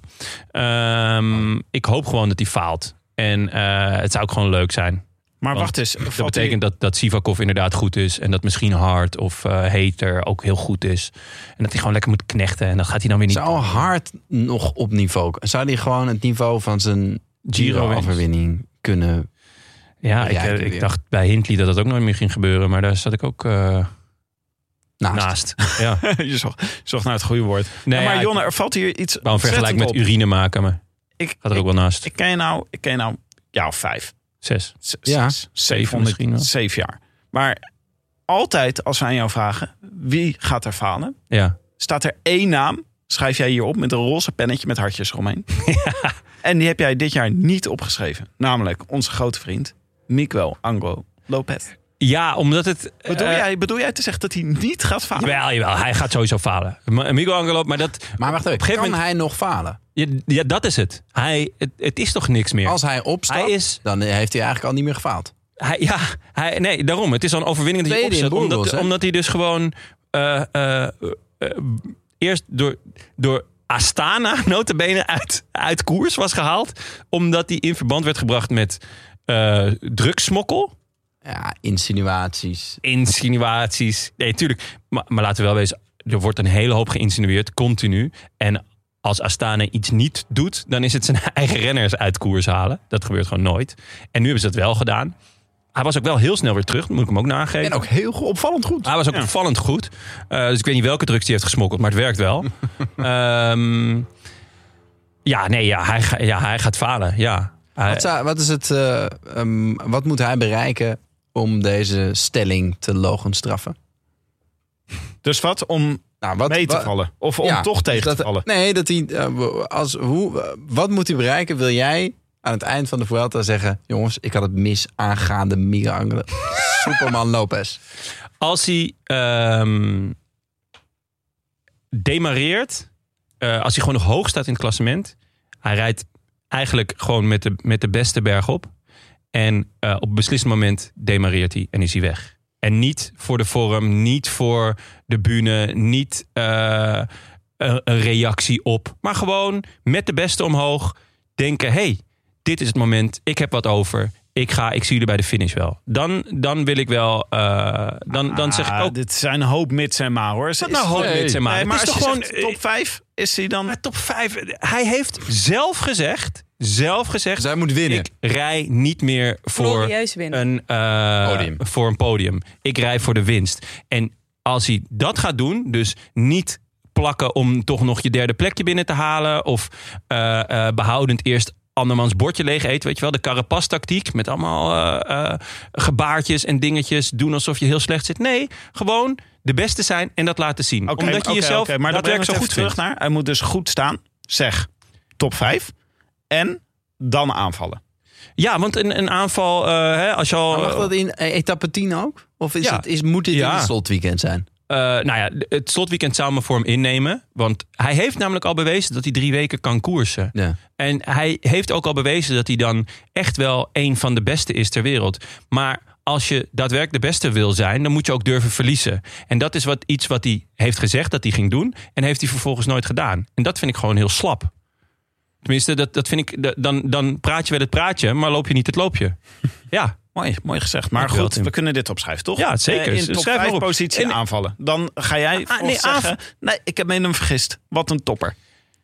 Ehm, ik hoop gewoon dat hij faalt. En eh, het zou ook gewoon leuk zijn. Maar Want wacht eens. valt Dat hij- betekent dat, dat Sivakov inderdaad goed is. En dat misschien Hart of eh Hater ook heel goed is. En dat hij gewoon lekker moet knechten. En dat gaat hij dan weer niet. Zou Hart nog op niveau... Zou hij gewoon het niveau van zijn Giro wins. Giro-overwinning kunnen... Ja, ik, Ja, eh, ik- ik dacht bij Hindley dat dat ook nooit meer ging gebeuren. Maar daar zat ik ook eh, naast. Naast. Ja. je, zocht, je zocht naar het goede woord. Nee, maar ja, Jonne, ik er valt hier iets wou een vergelijk ontzettend met op. urine maken. Maar Ik, gaat er ook ik, wel naast. ik ken je nou, ik ken je nou, ja, of vijf. Zes. Z- Ja. zes, Zeven misschien wel. zeven jaar. Maar altijd als we aan jou vragen, wie gaat er falen? Ja. Staat er één naam, schrijf jij hier op met een roze pennetje met hartjes eromheen. En die heb jij dit jaar niet opgeschreven. Namelijk onze grote vriend, Miguel Anglo Lopez. Ja, omdat het... Bedoel, eh, jij, bedoel jij te zeggen dat hij niet gaat falen? Jawel, jawel. Hij gaat sowieso falen. Ma- Miguel Angelo, maar dat, Maar wacht even, Op een gegeven kan moment- hij nog falen? ja, ja, dat is het. Hij, het. Het is toch niks meer? Als hij opstapt, Hij is- dan heeft hij eigenlijk al niet meer gefaald. Hij, ja, hij, nee, daarom. Het is al een overwinning dat hij Tweede in opzet. Omdat, Burgos, hè? omdat hij dus gewoon... eh, eh, eh, eh, eerst door, door Astana, notabene, uit, uit koers was gehaald. Omdat hij in verband werd gebracht met eh drugsmokkel. Ja, insinuaties. insinuaties. Nee, tuurlijk. Maar, maar laten we wel wezen, er wordt een hele hoop geïnsinueerd, continu. En als Astana iets niet doet, dan is het zijn eigen renners uit koers halen. Dat gebeurt gewoon nooit. En nu hebben ze dat wel gedaan. Hij was ook wel heel snel weer terug, dat moet ik hem ook nageven. En ook heel go- opvallend goed. Ah, Hij was ook opvallend goed. Eh, dus ik weet niet welke drugs hij heeft gesmokkeld, maar het werkt wel. Ehm, ja, nee, ja hij, ga- ja, hij gaat falen. Ja. Hij- Wat, zou- wat is het, eh, ehm, wat moet hij bereiken om deze stelling te logenstraffen? Dus wat om Nou, wat, mee te wa- vallen? Of om Ja, dus dus toch tegen dat- te vallen? Nee, dat hij, eh, als, hoe, eh, wat moet hij bereiken? Wil jij aan het eind van de Vuelta zeggen... jongens, ik had het mis aangaande Miguel Angel Superman Lopez. Als hij ehm, demareert, eh, als hij gewoon nog hoog staat in het klassement, hij rijdt eigenlijk gewoon met de, met de beste berg op. En eh, op een beslissend moment demareert hij en is hij weg. En niet voor de vorm, niet voor de bühne, niet eh, een, een reactie op. Maar gewoon met de beste omhoog denken: hey, dit is het moment, ik heb wat over. Ik ga, ik zie jullie bij de finish wel. Dan, dan wil ik wel, eh, dan, dan zeg ik Ah, ook. Dit zijn een hoop mits en maar hoor. Is- nou hoop nee. mits en maar? Nee, Het is maar als toch je gewoon zegt top 5 is hij dan. eh, top 5. Hij heeft zelf gezegd, zelf gezegd, Dus hij moet winnen. ik rij niet meer voor Glorieus winnen. een, eh, Podium. voor een podium. Ik rij voor de winst. En als hij dat gaat doen, dus niet plakken om toch nog je derde plekje binnen te halen. Of eh, eh, behoudend eerst andermans bordje leeg eten. Weet je wel, de carapas tactiek met allemaal eh, eh, gebaartjes en dingetjes. Doen alsof je heel slecht zit. Nee, gewoon de beste zijn en dat laten zien. Oké, Omdat je oké, jezelf oké, maar dat werk brengen we zo het goed even terug vindt. naar. Hij moet dus goed staan. Zeg top 5 en dan aanvallen. Ja, want een, een aanval, eh, hè, als je al... Oh. Maar mag dat in eh, etappe 10 ook? Of is Ja. het, is, moet dit Ja. in het slotweekend zijn? Eh, nou ja, het slotweekend zou me voor hem innemen. Want hij heeft namelijk al bewezen dat hij drie weken kan koersen. Ja. En hij heeft ook al bewezen dat hij dan echt wel een van de beste is ter wereld. Maar als je daadwerkelijk de beste wil zijn, dan moet je ook durven verliezen. En dat is wat, iets wat hij heeft gezegd dat hij ging doen. En heeft hij vervolgens nooit gedaan. En dat vind ik gewoon heel slap. Tenminste, dat, dat vind ik, dat- dan, dan praat je wel het praatje, maar loop je niet het loopje. Ja, Mooi, mooi gezegd. Maar Dankjewel, goed, Tim. we kunnen dit opschrijven, toch? Ja, zeker. Dus Eh, In Schrijf top maar 5 op. positie En- aanvallen. Dan ga jij Ah, ah, nee, zeggen... Nee, ik heb me in hem vergist. Wat een topper. Ga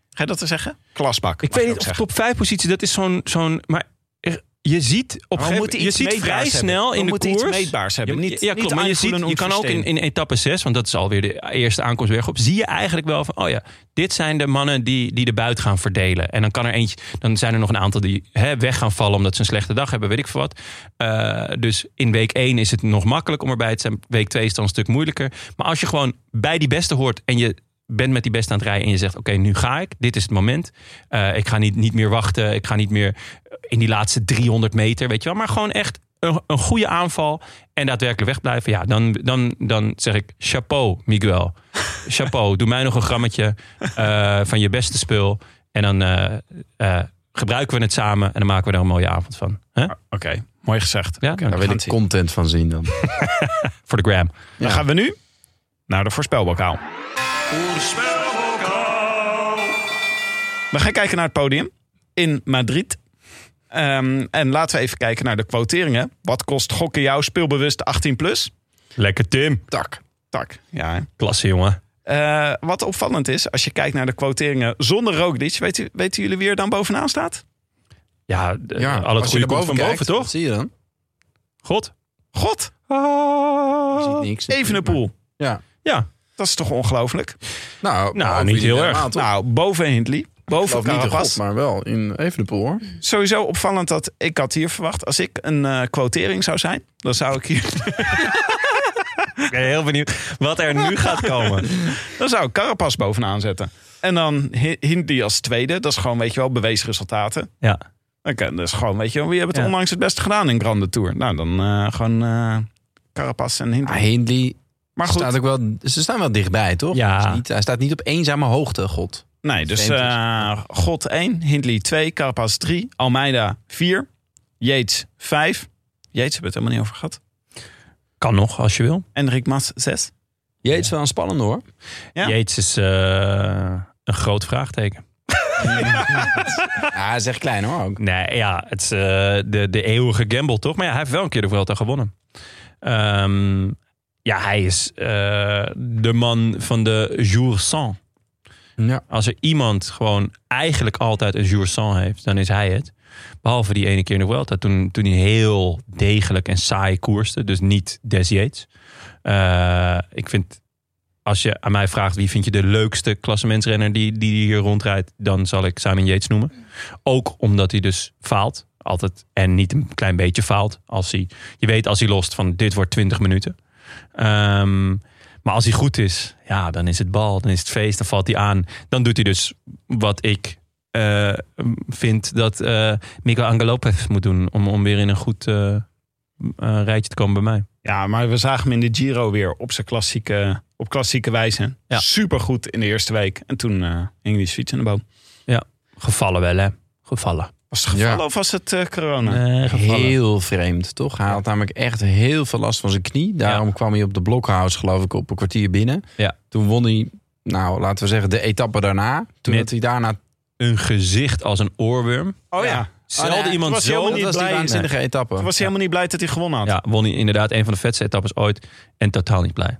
je dat dan zeggen? Klasbak. Ik weet niet of top 5 positie, dat is zo'n. zo'n maar er- je ziet op een gegeven moment. Je ziet vrij snel in de moet iets koers. meetbaars hebben. Ja, Niet, ja, klopt. niet Maar je, aanvoelen ziet, je om kan ook in, verstenen. in etappe 6, want dat is alweer de eerste aankomstweg op. Zie je eigenlijk wel van: oh ja, dit zijn de mannen die, die de buit gaan verdelen. En dan kan er eentje. Dan zijn er nog een aantal die hè, weg gaan vallen omdat ze een slechte dag hebben, weet ik veel wat. Eh, dus in week 1 is het nog makkelijk om erbij te zijn. Week 2 is dan een stuk moeilijker. Maar als je gewoon bij die beste hoort en je bent met die beste aan het rijden en je zegt: Oké, nu ga ik. Dit is het moment. Eh, ik ga niet, niet meer wachten. Ik ga niet meer in die laatste 300 meter, weet je wel. Maar gewoon echt een, een goede aanval en daadwerkelijk wegblijven. Ja, dan, dan, dan zeg ik: Chapeau, Miguel. Chapeau, doe mij nog een grammetje eh, van je beste spul. En dan eh, eh, gebruiken we het samen en dan maken we er een mooie avond van. Hè? Oké, mooi gezegd. Ja, nou, Oké, we Daar gaan wil het ik zien. content van zien dan. Voor de gram. Dan gaan we nu naar de voorspelbokaal. We gaan kijken naar het podium in Madrid. Ehm, en laten we even kijken naar de quoteringen. Wat kost gokken jou speelbewust 18 plus? Lekker Tim. Tak. Tak, ja. hè. Klasse jongen. Eh, wat opvallend is, als je kijkt naar de quoteringen zonder Roglic... Weet u, weten jullie wie er dan bovenaan staat? Ja, de- al als het goede je naar komt van kijkt, boven toch? Zie je dan? God. God, Je Ah, ziet niks. Evenepoel. Ja. Ja. Dat is toch ongelooflijk? Nou, Nou, of niet jullie heel helemaal, erg. toch? Nou, boven Hindley, Ik boven geloof niet in Carapaz. God, maar wel in Evenepoel hoor. Sowieso opvallend dat ik had hier verwacht. Als ik een eh, quotering zou zijn, dan zou ik hier. Ik ben heel benieuwd wat er nu gaat komen. Dan zou ik Carapas bovenaan zetten. En dan Hi- Hindley als tweede. Dat is gewoon, weet je wel, bewezen resultaten. Ja. Oké, dat is gewoon, weet je wel, wie hebben het Ja. onlangs het beste gedaan in Grande Tour? Nou, dan eh, gewoon eh Carapas en Ja, Hindley. Hindley Maar goed, Ah, staat ook wel, ze staan wel dichtbij, toch? Ja. Hij is niet, hij staat niet op eenzame hoogte, God. nee, dus Vreemd is. eh, God 1, Hindley 2, Carapas 3, Almeida 4, Yates 5. Yates hebben we het helemaal niet over gehad. Kan nog, als je wil. Enrik Mas 6. Jeet is wel een spannende hoor. Ja. Jeets is eh, een groot vraagteken. Ja, hij is echt klein hoor ook. Nee, ja, het is eh, de, de eeuwige gamble, toch? Maar ja, hij heeft wel een keer de Vuelta gewonnen. Ehm, ja, hij is eh, de man van de jour sans. Ja. Als er iemand gewoon eigenlijk altijd een jour sans heeft, dan is hij het. Behalve die ene keer in de Vuelta, toen, toen hij heel degelijk en saai koerste. Dus niet Des Yates. Eh, ik vind, als je aan mij vraagt wie vind je de leukste klassementsrenner die, die hier rondrijdt, dan zal ik Simon Yates noemen. Ook omdat hij dus faalt. Altijd. En niet een klein beetje faalt. Als hij, je weet als hij lost van dit wordt 20 minuten. Ehm, maar als hij goed is, ja, dan is het bal. Dan is het feest. Dan valt hij aan. Dan doet hij dus wat ik eh, vind dat eh Miguel Angel Lopez moet doen. Om, om weer in een goed eh, eh, rijtje te komen bij mij. Ja, maar we zagen hem in de Giro weer op zijn klassieke, op klassieke wijze. Ja. Supergoed in de eerste week. En toen eh hing die fiets in de boom. Gevallen wel, hè? Gevallen. Was het gevallen Ja. of was het eh, corona? Eh, gevallen. Heel vreemd, toch? Hij had namelijk echt heel veel last van zijn knie. Daarom kwam hij op de blokhouse, geloof ik, op een kwartier binnen. Ja. Toen won hij, nou, laten we zeggen, de etappe daarna. Toen Met- had hij daarna... Een gezicht als een oorworm. Oh ja. Zelden nee, iemand was hij zo helemaal Dat niet was die blij. waanzinnige etappe. Toen was hij helemaal niet blij dat hij gewonnen had. Ja, won hij inderdaad een van de vetste etappes ooit. En totaal niet blij.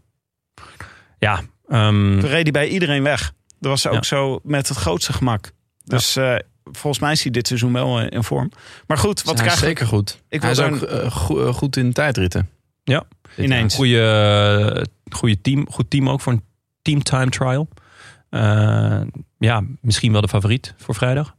Ja, ehm, Toen reed hij bij iedereen weg. Dat was ook Ja. zo met het grootste gemak. Dus eh, volgens mij is hij dit seizoen wel eh, in vorm. Maar goed, wat Hij is krijgen we? zeker goed. Ik hij wil is daar ook eh, goe- eh, goed in tijdritten. Ja, Dit ineens. jaar. goede, eh, goede team. Goed team ook voor een team time trial. Eh, ja, misschien wel de favoriet voor vrijdag.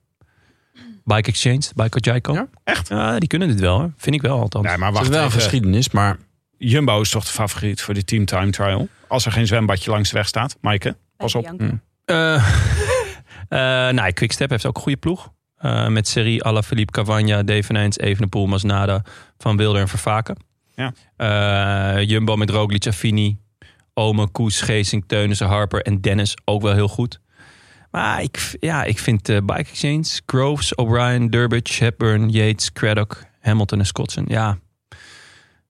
Bike Exchange, Bike Jaiko. Ja, echt? Ja, die kunnen dit wel, hè. vind ik wel althans. Nee, maar Het is wacht wel even. geschiedenis, maar Jumbo is toch de favoriet voor die team time trial? Als er geen zwembadje langs de weg staat. Maaike, pas op. Bianca. Eh eh nee, Quickstep heeft ook een goede ploeg. Eh, met Serie, Alaphilippe, Cavagna, Deveneens, Evenepoel, Masnada, Van Wilder en Vervaken. Ja. Eh, Jumbo met Roglic, Affini, Ome, Koes, Geesink, Teunissen, Harper en Dennis ook wel heel goed. Maar ik, ja, ik vind eh, Bike Exchange, Groves, O'Brien, Durbridge, Hepburn, Yates, Craddock, Hamilton en Scottson. Ja.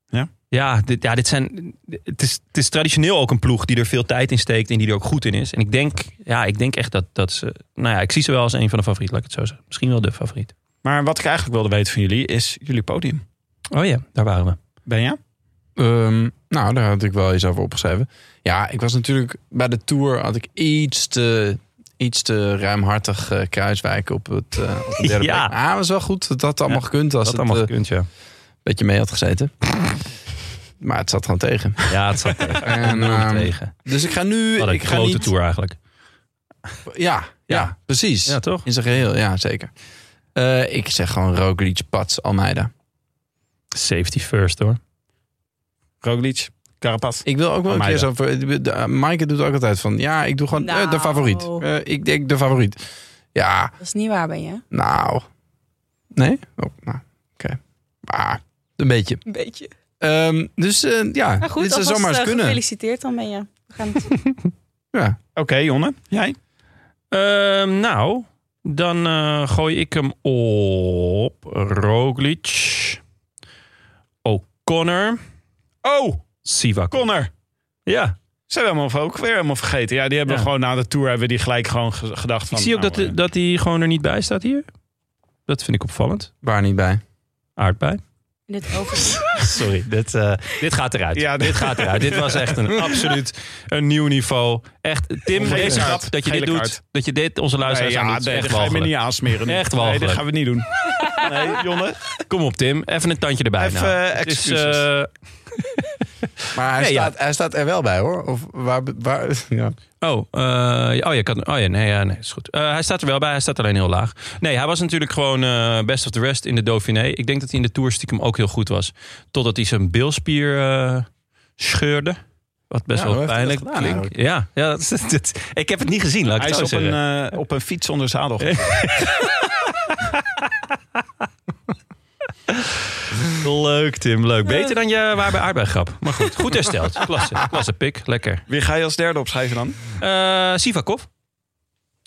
Ja? Ja, dit, ja, dit zijn, het, is, het is traditioneel ook een ploeg die er veel tijd in steekt en die er ook goed in is. En ik denk, ja, ik denk echt dat, dat ze. Nou ja, ik zie ze wel als een van de favorieten, laat ik het zo zeggen. Misschien wel de favoriet. Maar wat ik eigenlijk wilde weten van jullie is jullie podium. Oh ja, daar waren we. Ben je? Ehm, nou, daar had ik wel eens over opgeschreven. Ja, ik was natuurlijk bij de tour had ik iets te, iets te ruimhartig eh, kruiswijken op het eh, op de derde Ja. plek. Maar het was wel goed. Dat had allemaal gekund als Dat het allemaal eh, gekund, ja. een beetje mee had gezeten. maar het zat gewoon tegen. Ja, het zat tegen. En, Enorm ehm, tegen. Dus ik ga nu. Wat een ik ga grote niet, tour eigenlijk. Ja, ja, Ja. precies. Ja, toch? In zijn geheel, ja, zeker. Eh, ik zeg gewoon Roglic, Pats, Almeida. Safety first hoor. Roglic, Carapaz. Ik wil ook wel een Almeida. keer zo... voor- de- eh, Maaike doet ook altijd van... Ja, ik doe gewoon eh, de Nou. favoriet. Eh, ik denk de favoriet. Ja, Dat is niet waar, ben je? Nou. Nee? Oh, nou, oké. Maar een beetje. Een beetje. Ehm, dus eh, ja, Maar goed, dit zou alvast, zomaar eens eh, kunnen. gefeliciteerd dan ben je. We gaan het Ja. Oké, Jonne. Jij? Ehm, nou, Dan eh, gooi ik hem op Roglic. O'Connor. Oh, Sivak. Connor. Ja, Zijn we hem ook weer helemaal vergeten. Ja, die hebben Ja. we gewoon na de tour hebben we die gelijk gewoon ge- gedacht ik van... zie ook nou, dat, eh, dat hij gewoon er niet bij staat hier. Dat vind ik opvallend. Waar niet bij. Aardbei. In dit over. Sorry, dit, eh, dit gaat eruit. Ja, dit dit- gaat eruit. dit was echt een absoluut een nieuw niveau. Echt, Tim, Gele deze kaart. grap dat je dit Gele doet, kaart. dat je dit onze luisteraars nee, aan ja, doet, is nee, echt dat ga je me walgelijk. niet aansmeren. nu. Echt Nee, walgelijk. dat gaan we niet doen. Nee, Jonne. Kom op, Tim. Even een tandje erbij. Even nou. eh, Het is, excuses. eh, Maar hij, Nee, ja. staat, hij staat er wel bij hoor. Of waar, waar, ja. Oh, eh, oh, ja, kan, oh ja, nee, ja, nee, is goed. Eh, hij staat er wel bij, hij staat alleen heel laag. Nee, hij was natuurlijk gewoon eh, best of the rest in de Dauphiné. Ik denk dat hij in de Tour stiekem ook heel goed was. Totdat hij zijn bilspier eh, scheurde. Wat best Ja, hoe wel heeft hij dat pijnlijk gedaan klinkt. Ja, ja dat, is- dat- ik heb het niet gezien, laat ik Hij het is zo op een, zeggen. eh, op een fiets zonder zadel. eh, Leuk, Tim, leuk. Beter dan je waarbij aardbeigrap. Maar goed, goed hersteld. Klasse, klasse pik, lekker. Wie ga je als derde opschrijven dan? Eh, Sivakov?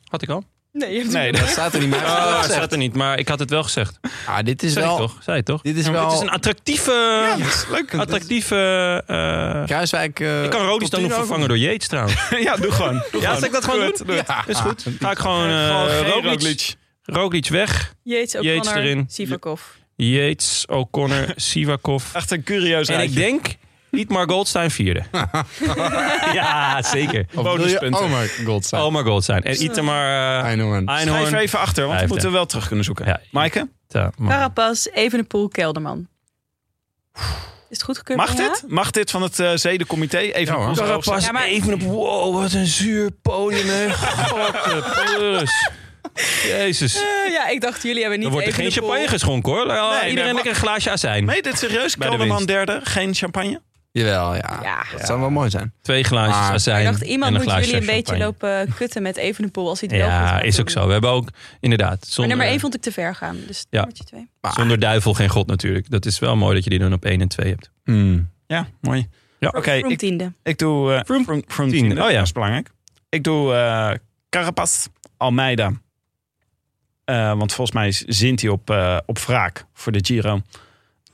Had ik al? Nee, je hebt Nee, Dat staat er niet bij. Oh, hij staat er niet, maar ik had het wel gezegd. Ah, dit is Zei ik wel... toch? Zei het toch? Dit is Ja, maar wel- Het is een attractieve... Leuk. Attractieve. eh, Kruiswijk... eh, ik kan Rodis dan nog Contino. vervangen door Yates trouwens. ja, doe gewoon. Doe Ja, zal ik dat gewoon Goed, doen? doe het. Ja. Is goed. Ga ik gewoon Gewoon eh geen Roglic, Roglic. Roglic weg. Jeets ook Yates erin. Sivakov. Yates, O'Connor, Sivakov. Echt een curieus En ik rijtje. denk Dietmar Goldstein vierde. ja, zeker. Of wil je- bonuspunten. Oh my god. zijn. Omar Goldstein. En Itamar eh, Einhorn. Schrijf Einhorn. even achter, want we Vijfde. moeten hem wel terug kunnen zoeken. Ja. Maaike, Ja, maar- Carapaz, Evenepoel, Kelderman. Is het goed gekeurd? mag bij dit? Mag dit van het eh, zedencomité? Ja, Even hoor. een pols hoog zetten. Carapaz Ja, maar- even op... Wow, wat een zuur podium, hè. God, de plus. Jezus. jou? Eh, ja, ik dacht jullie hebben niet Er wordt er geen Evenepoel. champagne geschonken, hoor. nee, Iedereen maar- lekker een glaasje azijn. Meen je dit serieus? Bij de Kelderman winst. derde, geen champagne? Jawel, ja. Ja. Dat zou wel mooi zijn. Twee glaasjes Ah, Maar- azijn Ik dacht, iemand en een moet jullie glaasje een beetje champagne. lopen kutten met Evenepoel als hij het wel goed Ja, gaat is doen. ook zo. We hebben ook, inderdaad, Maar zonder, nummer 1 vond ik te ver gaan. Dus Ja. nummertje 2. zonder duivel geen god natuurlijk. Dat is wel mooi dat je die dan op 1 en 2 hebt. Hmm. Ja, mooi. Ja. Oké, Vroom ik, tiende. ik doe... eh Vroom- Vroom- Vroom tiende. tiende. Oh ja. Dat is belangrijk. Ik doe eh Carapaz, Almeida. Eh, want volgens mij is- zint hij op, eh, op wraak voor de Giro.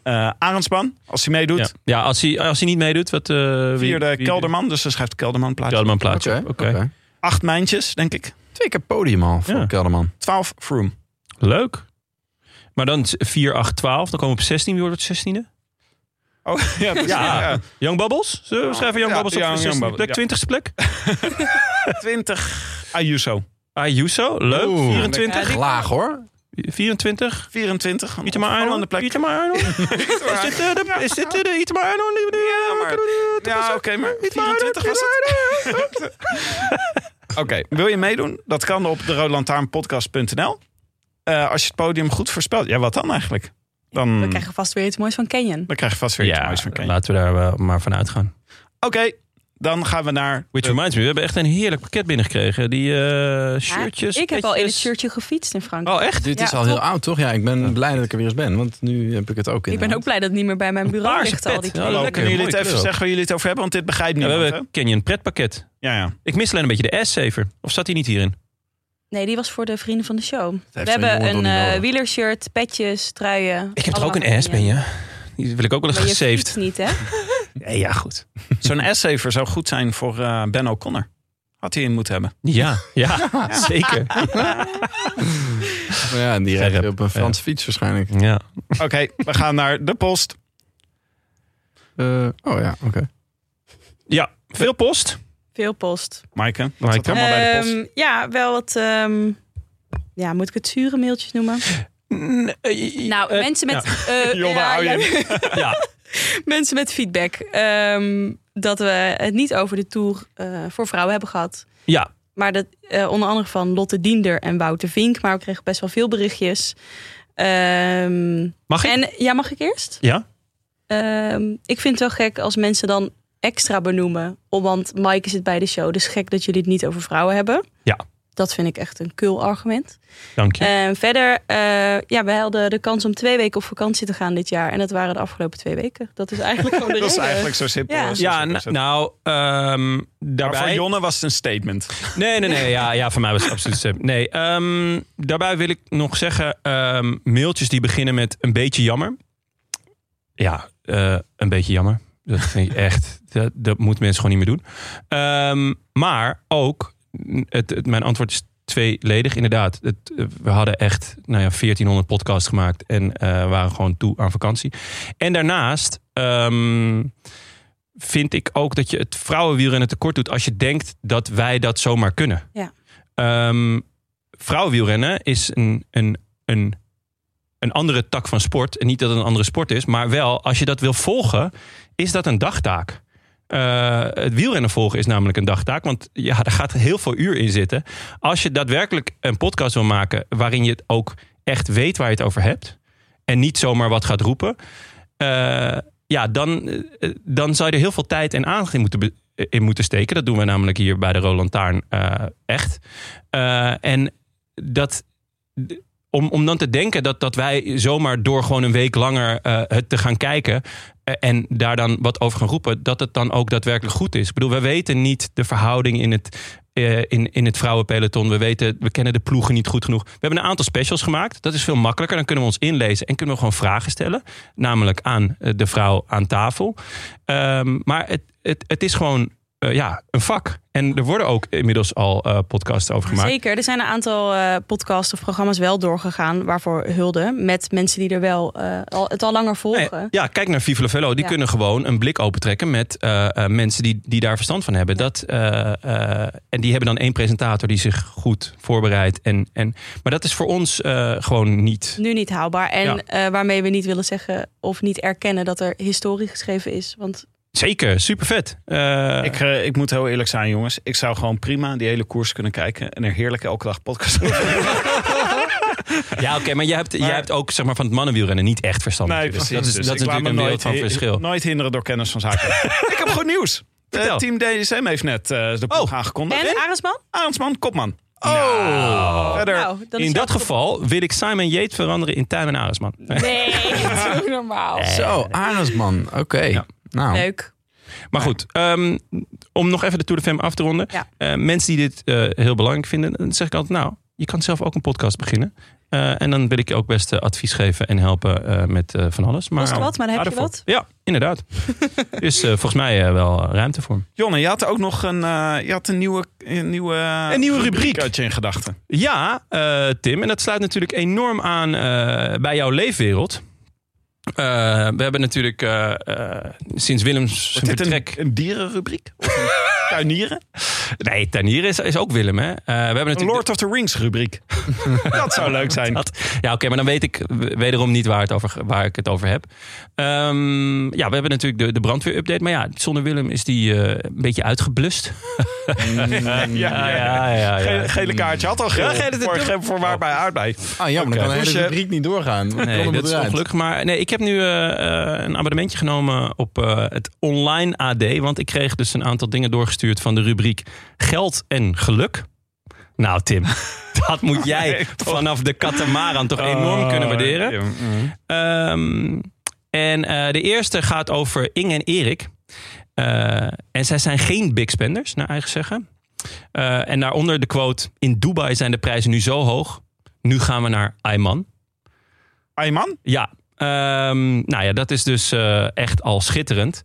Eh Arendsman, als hij meedoet. Ja, ja als, hij, als hij niet meedoet, wat... eh wie- Vierde wie- Kelderman, dus dan schrijft Kelderman plaats. Kelderman plaats. Oké. Oké. oké. Acht mijntjes, denk ik. Twee keer podium al voor Ja. Kelderman. Twaalf Froome. Leuk. Maar dan 4, 8, 12. Dan komen we op 16. Wie wordt het 16e? Oh, ja, precies. Ja. Ja. Young Bubbles? Zullen we schrijven Young Ah, Ja, Bubbles op Young- de Young 16e plek? Bubbles, 20ste plek? Twintig Ayuso. Ayuso? Ah, Leuk. Oeh. 24? Echt laag hoor. 24? 24. Een Itamar Arnold? opvallende plek. Itamar Arnold? Is dit eh, de- is dit, eh, de Itamar Arnold? die we nu, eh, maar- kunnen doen? Ja, oké, maar Itamar Arnold, 24 was het. Oké, wil je meedoen? Dat kan op de roodlantaarnpodcast.nl. Eh, als je het podium goed voorspelt. Ja, wat dan eigenlijk? Dan, Hmm. We krijgen vast weer iets moois van Canyon. dan krijg je vast weer iets Ja, moois van Kane. laten we daar wel maar van uitgaan. Oké, dan gaan we naar... Eh, Which de- reminds me, we hebben echt een heerlijk pakket binnengekregen. Die eh, Ja, shirtjes. ik heb al in het petjes. shirtje gefietst in Frankrijk. Oh, echt? Dit Ja, is al top. heel oud toch? Ja, ik ben blij dat ik er weer eens ben. Want nu heb ik het ook in. ik ben ook blij dat het niet meer bij mijn bureau paarse ligt. Al pet. die Ja, kleren. Hallo, lekker, kunnen jullie mooie het even kleur ook. zeggen waar jullie het over hebben? Want dit begrijpt Ja, niemand. we hè? hebben Canyon pretpakket. ja, ja. Ik mis alleen een beetje de S-saver. Of zat hij niet hierin? Nee, die was voor de vrienden van de show. We zo'n hebben jongen een toch niet eh, nodig? wielershirt, petjes, truien. Ik heb toch ook allemaal een S, dingen. ben je? Die wil ik ook wel eens Maar je gesaved. fietst niet, hè? Nee, ja, goed. Zo'n essayver zou goed zijn voor eh, Ben O'Connor. Had hij in moeten hebben. Ja, ja, zeker. eh, Ja, die Gerrit. rijdt op een Franse fiets waarschijnlijk. Ja. Oké, we gaan naar de post. Eh, oh ja, oké. ja, veel post. Veel post. Maaike, wat Maaike. zat er allemaal bij de post? Ehm, ja, wel wat... ehm, ja, moet ik het zure mailtjes noemen? Eh, Nou, mensen met... eh, Jonne, hou je Ja, mensen met feedback. Ehm, dat we het niet over de Tour eh, voor vrouwen hebben gehad. ja. Maar dat eh, onder andere van Lotte Diender en Wouter Vink. Maar we kregen best wel veel berichtjes. Ehm, Mag ik? En ja, mag ik eerst? Ja. Ehm, ik vind het wel gek als mensen dan extra benoemen. om- Want Mike zit bij de show. Dus gek dat jullie het niet over vrouwen hebben. Ja. Dat vind ik echt een kul argument. Dank je. En Ehm, verder, eh, ja, we hadden de kans om twee weken op vakantie te gaan dit jaar. En dat waren de afgelopen twee weken. Dat is eigenlijk gewoon de Dat is reden. eigenlijk zo simpel. Ja. als- ja, zo n- simpel is het. nou, ehm, Maar voor daarbij... Jonne was het een statement. Nee, nee, nee. Ja, ja voor mij was het absoluut stem. Nee, ehm, daarbij wil ik nog zeggen... ehm, mailtjes die beginnen met een beetje jammer. Ja, eh, een beetje jammer. Dat vind ik echt... Dat, dat moeten mensen gewoon niet meer doen. Ehm, maar ook... Het, het- mijn antwoord is tweeledig, inderdaad. Het, eh, we hadden echt nou ja, 1400 podcasts gemaakt... en eh, waren gewoon toe aan vakantie. En daarnaast... ehm, vind ik ook dat je het vrouwenwielrennen tekort doet als je denkt dat wij dat zomaar kunnen. Ja. Ehm, vrouwenwielrennen is een, een, een, een andere tak van sport. En niet dat het een andere sport is, maar wel als je dat wil volgen, is dat een dagtaak. Eh, het wielrennen volgen is namelijk een dagtaak, want ja, daar gaat heel veel uur in zitten. Als je daadwerkelijk een podcast wil maken waarin je het ook echt weet waar je het over hebt en niet zomaar wat gaat roepen, eh, ja, dan, eh, dan zou je er heel veel tijd en aandacht in moeten, be- in moeten steken. Dat doen we namelijk hier bij de Roland Taarn eh, echt. Eh, en dat. d- Om, om dan te denken dat, dat wij zomaar door gewoon een week langer eh, het te gaan kijken. eh, en daar dan wat over gaan roepen. dat het dan ook daadwerkelijk goed is. Ik bedoel, we weten niet de verhouding in het, eh, in, in het vrouwenpeloton. We, weten, we kennen de ploegen niet goed genoeg. We hebben een aantal specials gemaakt. Dat is veel makkelijker. Dan kunnen we ons inlezen en kunnen we gewoon vragen stellen. Namelijk aan eh, de vrouw aan tafel. Ehm, maar het, het, het is gewoon eh, ja, een vak. En er worden ook inmiddels al eh, podcasts over gemaakt. Zeker, er zijn een aantal eh, podcasts of programma's wel doorgegaan. Waarvoor hulde. Met mensen die er wel eh, al, het al langer volgen. Nee, ja, kijk naar Viva La Velo. Die Ja. kunnen gewoon een blik opentrekken met eh, eh, mensen die, die daar verstand van hebben. Dat, eh, eh, en die hebben dan één presentator die zich goed voorbereidt. En, en, maar dat is voor ons eh, gewoon niet. Nu niet haalbaar. En Ja. eh, waarmee we niet willen zeggen of niet erkennen dat er historie geschreven is. Want Zeker, super vet. Ik, eh, ik moet heel eerlijk zijn, jongens. Ik zou gewoon prima die hele koers kunnen kijken. En er heerlijk elke dag podcast over ja, oké, maar, jij hebt, jij hebt ook zeg maar, van het mannenwielrennen niet echt verstand. Nee, natuurlijk. precies. dat is, Dus dat ik is laat me natuurlijk een wereld nooit van hi- verschil. Nooit hinderen door kennis van zaken. ik heb goed nieuws. Eh, Vertel. team DSM heeft net eh, de ploeg Oh. aangekondigd. en Arendsman? Arendsman, kopman. Oh. Verder. Nou, dan is In dat wel- geval wil ik Simon Yates veranderen in Tijmen Aresman. Nee, dat is ook normaal. Zo, Arendsman. Oké. Nou, Leuk. Maar goed, ehm, om nog even de Tour de Femme af te ronden. Ja. Eh, mensen die dit eh, heel belangrijk vinden, dan zeg ik altijd... nou, je kan zelf ook een podcast beginnen. Eh, en dan wil ik je ook best eh, advies geven en helpen eh, met eh, van alles. Maar, Kost wat, maar dan heb je Ga ervoor. wat. Ja, inderdaad. dus eh, volgens mij eh, wel ruimte voor. Jonne, je had ook nog een, eh, je had een nieuwe, een nieuwe, Een nieuwe rubriek. had je in gedachten. Ja, eh, Tim. En dat sluit natuurlijk enorm aan eh, bij jouw leefwereld. Eh, we hebben natuurlijk eh, eh, sinds Willems Wordt dit vertrek... een, een dierenrubriek? Of een tuinieren? Nee, Tanier is, is ook Willem, hè? Eh, we hebben natuurlijk Een Lord of the Rings rubriek. dat zou leuk zijn. Dat- ja, oké, maar dan weet ik w- wederom niet waar, het over, waar ik het over heb. Ehm, ja, we hebben natuurlijk de, de brandweerupdate. Maar ja, zonder Willem is die eh, een beetje uitgeblust. Mm. ja, ja, ja. Ge- gele kaartje had al geel. Ja, gele- voor, ge- voor waarbij aardbei. ah, jammer, dan kan de Dus hele je- rubriek niet doorgaan. Want ik kon Nee, hem dat is eruit. ongelukkig. Maar nee, ik heb nu eh, eh, een abonnementje genomen op eh, het online AD. Want ik kreeg dus een aantal dingen doorgestuurd van de rubriek geld en geluk. Nou, Tim, dat moet jij vanaf de katamaran toch Eh, enorm kunnen waarderen. mm. Ehm, en eh, de eerste gaat over Inge en Erik. Eh, en zij zijn geen big spenders, naar eigen zeggen. Eh, en daaronder de quote: In Dubai zijn de prijzen nu zo hoog. Nu gaan we naar Ayman. Ayman? Ja, ehm, nou ja, dat is dus eh, echt al schitterend.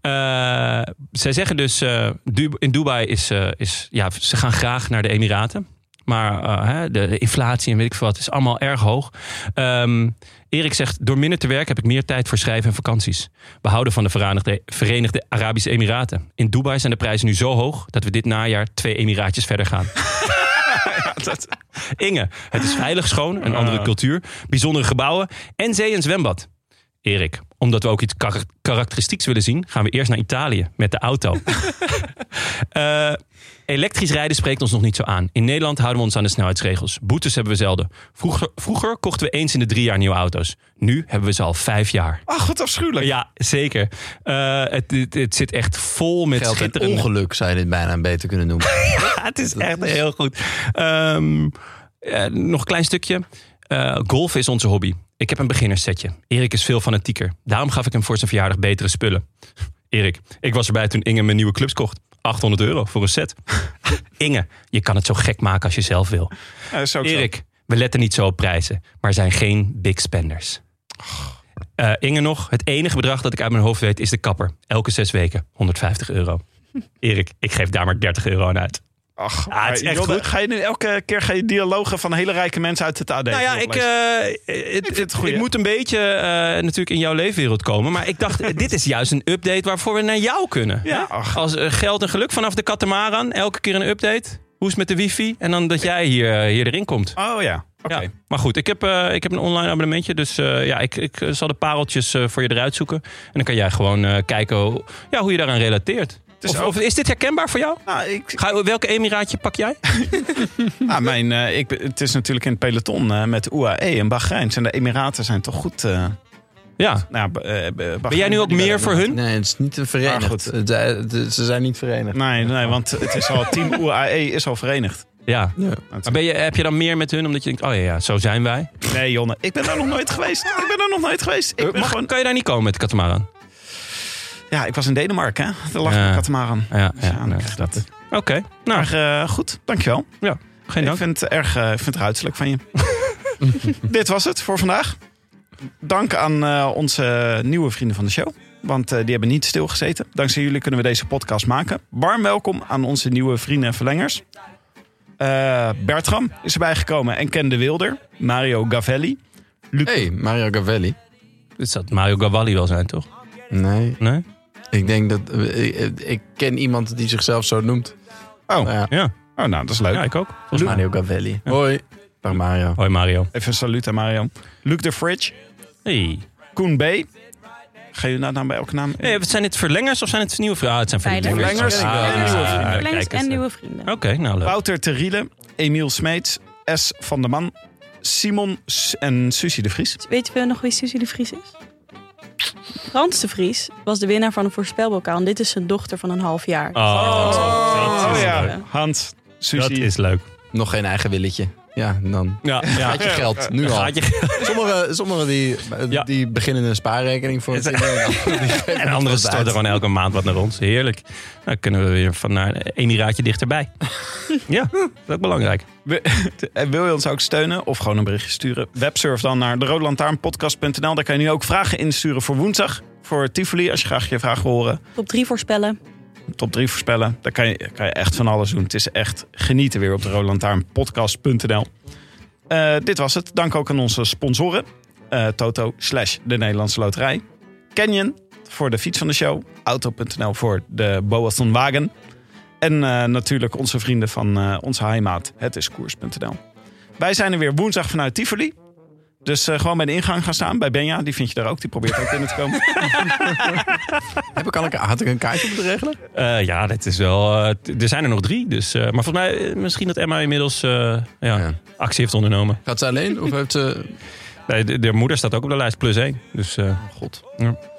Eh, zij zeggen dus, eh, Du- in Dubai is, eh, is, ja, ze gaan graag naar de Emiraten. Maar eh, hè, de, de inflatie en weet ik veel wat is allemaal erg hoog. Ehm, Erik zegt, door minder te werken heb ik meer tijd voor schrijven en vakanties. We houden van de Verenigde, Verenigde Arabische Emiraten. In Dubai zijn de prijzen nu zo hoog dat we dit najaar twee Emiraatjes verder gaan. Inge, het is veilig, schoon, een andere cultuur, bijzondere gebouwen en zee en zwembad. Erik, omdat we ook iets kar- karakteristieks willen zien, gaan we eerst naar Italië met de auto. Eh, elektrisch rijden spreekt ons nog niet zo aan. In Nederland houden we ons aan de snelheidsregels. Boetes hebben we zelden. Vroeger, vroeger kochten we eens in de drie jaar nieuwe auto's. Nu hebben we ze al vijf jaar. Ach, wat Ah, afschuwelijk. Ja, zeker. Eh, het, het, het zit echt vol met Geld en schitterende... ongeluk zou je dit bijna beter kunnen noemen. Ja, het is echt heel goed. Ehm, eh, nog een klein stukje. Eh, golf is onze hobby. Ik heb een beginnerssetje. Erik is veel fanatieker. Daarom gaf ik hem voor zijn verjaardag betere spullen. Erik, ik was erbij toen Inge mijn nieuwe clubs kocht. 800 euro voor een set. Inge, je kan het zo gek maken als je zelf wil. Ja, dat is ook zo. Erik, we letten niet zo op prijzen, maar zijn geen big spenders. Oh. Eh, Inge nog, het enige bedrag dat ik uit mijn hoofd weet is de kapper. Elke zes weken 150 euro. Erik, ik geef daar maar 30 euro aan uit. Ach, Ja, het is maar echt Jodde, goed. Ga je nu elke keer ga je dialogen van hele rijke mensen uit het AD? Nou ja, ik, oplezen? eh, het, vind het het- goeie. het moet een beetje eh, natuurlijk in jouw leefwereld komen. Maar ik dacht, dit is juist een update waarvoor we naar jou kunnen. Ja, Hè? ach. Als eh, geld en geluk vanaf de katamaran. Elke keer een update. Hoe is het met de wifi? En dan dat jij hier, eh, hier erin komt. Oh ja, oké. Ja, maar goed, ik heb, eh, ik heb een online abonnementje. Dus eh, ja, ik, ik eh, zal de pareltjes eh, voor je eruit zoeken. En dan kan jij gewoon eh, kijken hoe, ja, hoe je daaraan relateert. is of, ook- of is dit herkenbaar voor jou? Nou, ik, Ga, welke emiraatje pak jij? nou, mijn, eh, ik, ben- het is natuurlijk in het peloton eh, met UAE en Bahrein. En de Emiraten zijn toch goed. eh, nou, Ja. ja, Ba- eh, Bahrein- Ben jij nu ook meer voor hun? Nee, het is niet een Maar verenigd. goed. Het- eh, het- het- Ze zijn niet verenigd. Nee, nee, want het is al, team UAE is al verenigd. Ja. Ja. Maar Ah, ben je, heb je dan meer met hun? Omdat je denkt, oh ja, ja zo zijn wij. Nee, Jonne, ik ben daar nog nooit geweest. Ik ben daar nog nooit geweest. Ik ben Eh, Mag, gewoon, Kan je daar niet komen met de katamaran? ja, ik was in Denemarken, hè. Daar lag Ja. een katamaran. Ja, ja, Ja, nee, dat is dat. dat. Oké, nou, Maar eh, goed, dankjewel. geen dank. Ik vind het erg eh, ik vind het ruiterlijk van je. Dit was het voor vandaag. Dank aan eh, onze nieuwe vrienden van de show. Want eh, die hebben niet stilgezeten. Dankzij jullie kunnen we deze podcast maken. Warm welkom aan onze nieuwe vrienden en verlengers. Eh, Bertram is erbij gekomen en Ken de Wilder. Mario Gavelli. hey, Mario Gavelli. Dit zou Mario Gavalli wel zijn, toch? Nee, Nee? ik denk dat... eh, Ik, ik ken iemand die zichzelf zo noemt. Oh, Nou ja, Ja, oh nou, dat is leuk. ja ik ook. Volgens mij. Mario Gavelli. Hoi. Dag Mario. Hoi Mario. Even een salut aan Mario. Luc de Fridge. Hey. Koen B. Ga je nou dan bij elke naam? Nee, wat zijn dit verlengers of zijn het nieuwe vragen? Ah, het zijn verlengers. Verlengers. Ah, Verlengers. ah, Verlengers. kijk Verlengers eens. en nieuwe vrienden. Oké, nou leuk. Wouter Teriele. Emiel Smeets. S. van der Man. Simon S- en Susie de Vries. Dus Weten we nog wie Susie de Vries is? Frans de Vries was de winnaar van een voorspelbokaal. En dit is zijn dochter van een half jaar. Oh, dat Oh is leuk. ja, leuk. Hans, Dat Susie. is leuk. Nog geen eigen willetje. Ja, dan Ja, ja. gaat je geld nu al. Gaat je- Sommigen sommige die, Ja. die beginnen een spaarrekening voor het En anderen storten gewoon elke maand wat naar ons. Heerlijk. Dan kunnen we weer van naar één raadje dichterbij. Ja, dat is ook belangrijk. En eh, wil je ons ook steunen of gewoon een berichtje sturen? Websurf dan naar deroodlantaarnpodcast.nl. Daar kan je nu ook vragen insturen voor woensdag. Voor Tivoli, als je graag je vraag wil horen. Top drie voorspellen. Top 3 voorspellen. Daar kan je, kan je echt van alles doen. Het is echt genieten weer op deroodlantaarnpodcast.nl. Eh dit was het. Dank ook aan onze sponsoren. Eh, Toto slash de Nederlandse Loterij. Canyon voor de fiets van de show. Auto.nl voor de Boathon Wagen. En eh, natuurlijk onze vrienden van eh, onze heimaat. Het is koers.nl. Wij zijn er weer woensdag vanuit Tivoli. Dus eh, gewoon bij de ingang gaan staan. Bij Benja, die vind je daar ook. Die probeert ook binnen te komen. Heb ik al een, ka- had ik een kaartje moeten regelen? Eh, ja, dit is wel. eh, t- er zijn er nog drie. Dus, eh, maar volgens mij, eh, misschien dat Emma inmiddels eh, ja, Ja. actie heeft ondernomen. Gaat ze alleen? Of heeft ze... Nee, de, de moeder staat ook op de lijst, plus één. Dus eh, God.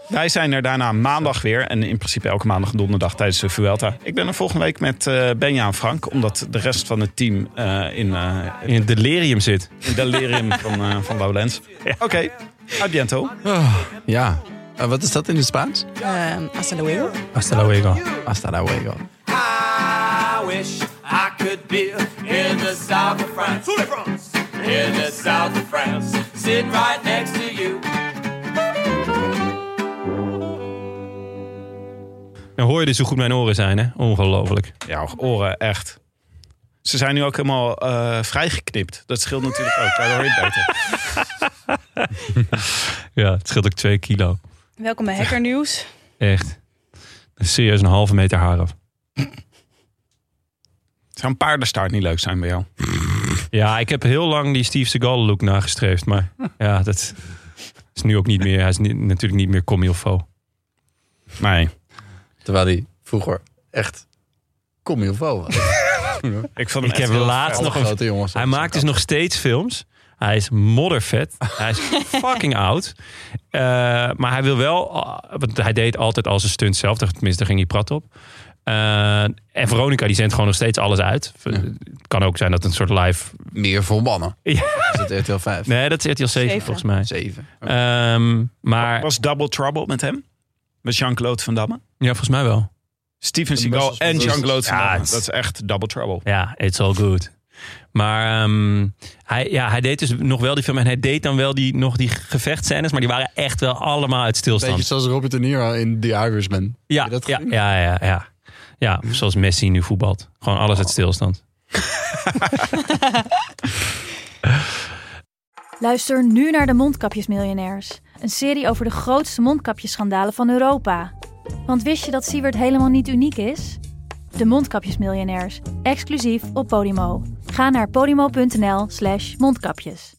Wij zijn er daarna maandag weer. En in principe elke maandag en donderdag tijdens de Vuelta. Ik ben er volgende week met eh, Benja en Frank. Omdat de rest van het team eh, in, eh in het delirium zit. in delirium van, eh van Lowlands. Oké, a biento. Ja. Eh, wat is dat in het Spaans? Ehm hasta luego. Hasta luego. Hasta la luego. I wish I could be in the south of France. In the south of France. Sitting right next to you. Dan hoor je dus hoe goed mijn oren zijn, hè? Ongelooflijk. Ja, oren, echt. Ze zijn nu ook helemaal eh, vrijgeknipt. Dat scheelt natuurlijk ook. Daar hoor je het beter. Ja, het scheelt ook twee kilo. Welkom bij Hacker News. Echt. Serieus een halve meter haar af. Zou een paardenstaart niet leuk zijn bij jou? Ja, ik heb heel lang die Steve Seagal look nagestreefd. Maar ja, dat is nu ook niet meer. Hij is ni- natuurlijk niet meer comilfo. Nee. Terwijl hij vroeger echt comilfo was. Ik vond hem Ik heb laatst nog een grote jongens. Hij maakt dus nog steeds films. Hij is moddervet. Hij is fucking oud. Eh, maar hij wil wel... eh, Want hij deed altijd al zijn stunt zelf. Tenminste, daar ging hij prat op. Eh, en Veronica, die zendt gewoon nog steeds alles uit. Het kan ook zijn dat het een soort live... meer volmannen. Ja. Is het RTL 5? Nee, dat is RTL 7, Zeven. volgens mij. 7. Ehm, maar... Was Double Trouble met hem? Met Jean-Claude Van Damme? Ja, volgens mij wel. Steven De Seagal Muscles en Brothers. Jean-Claude Van Ja, Damme. het- Dat is echt Double Trouble. Ja, it's all good. Maar ehm, hij, ja, hij deed dus nog wel die film. En hij deed dan wel die, nog die gevechtscènes. Maar die waren echt wel allemaal uit stilstand. Beetje zoals Robert De Niro in The Irishman. Ja, je dat ja, gezien? ja, ja, ja. Ja, zoals Messi nu voetbalt. Gewoon alles Oh. uit stilstand. Luister nu naar de Mondkapjesmiljonairs. Een serie over de grootste mondkapjesschandalen van Europa. Want wist je dat Siewert helemaal niet uniek is? De Mondkapjesmiljonairs, exclusief op Podimo. Ga naar podimo.nl slash mondkapjes.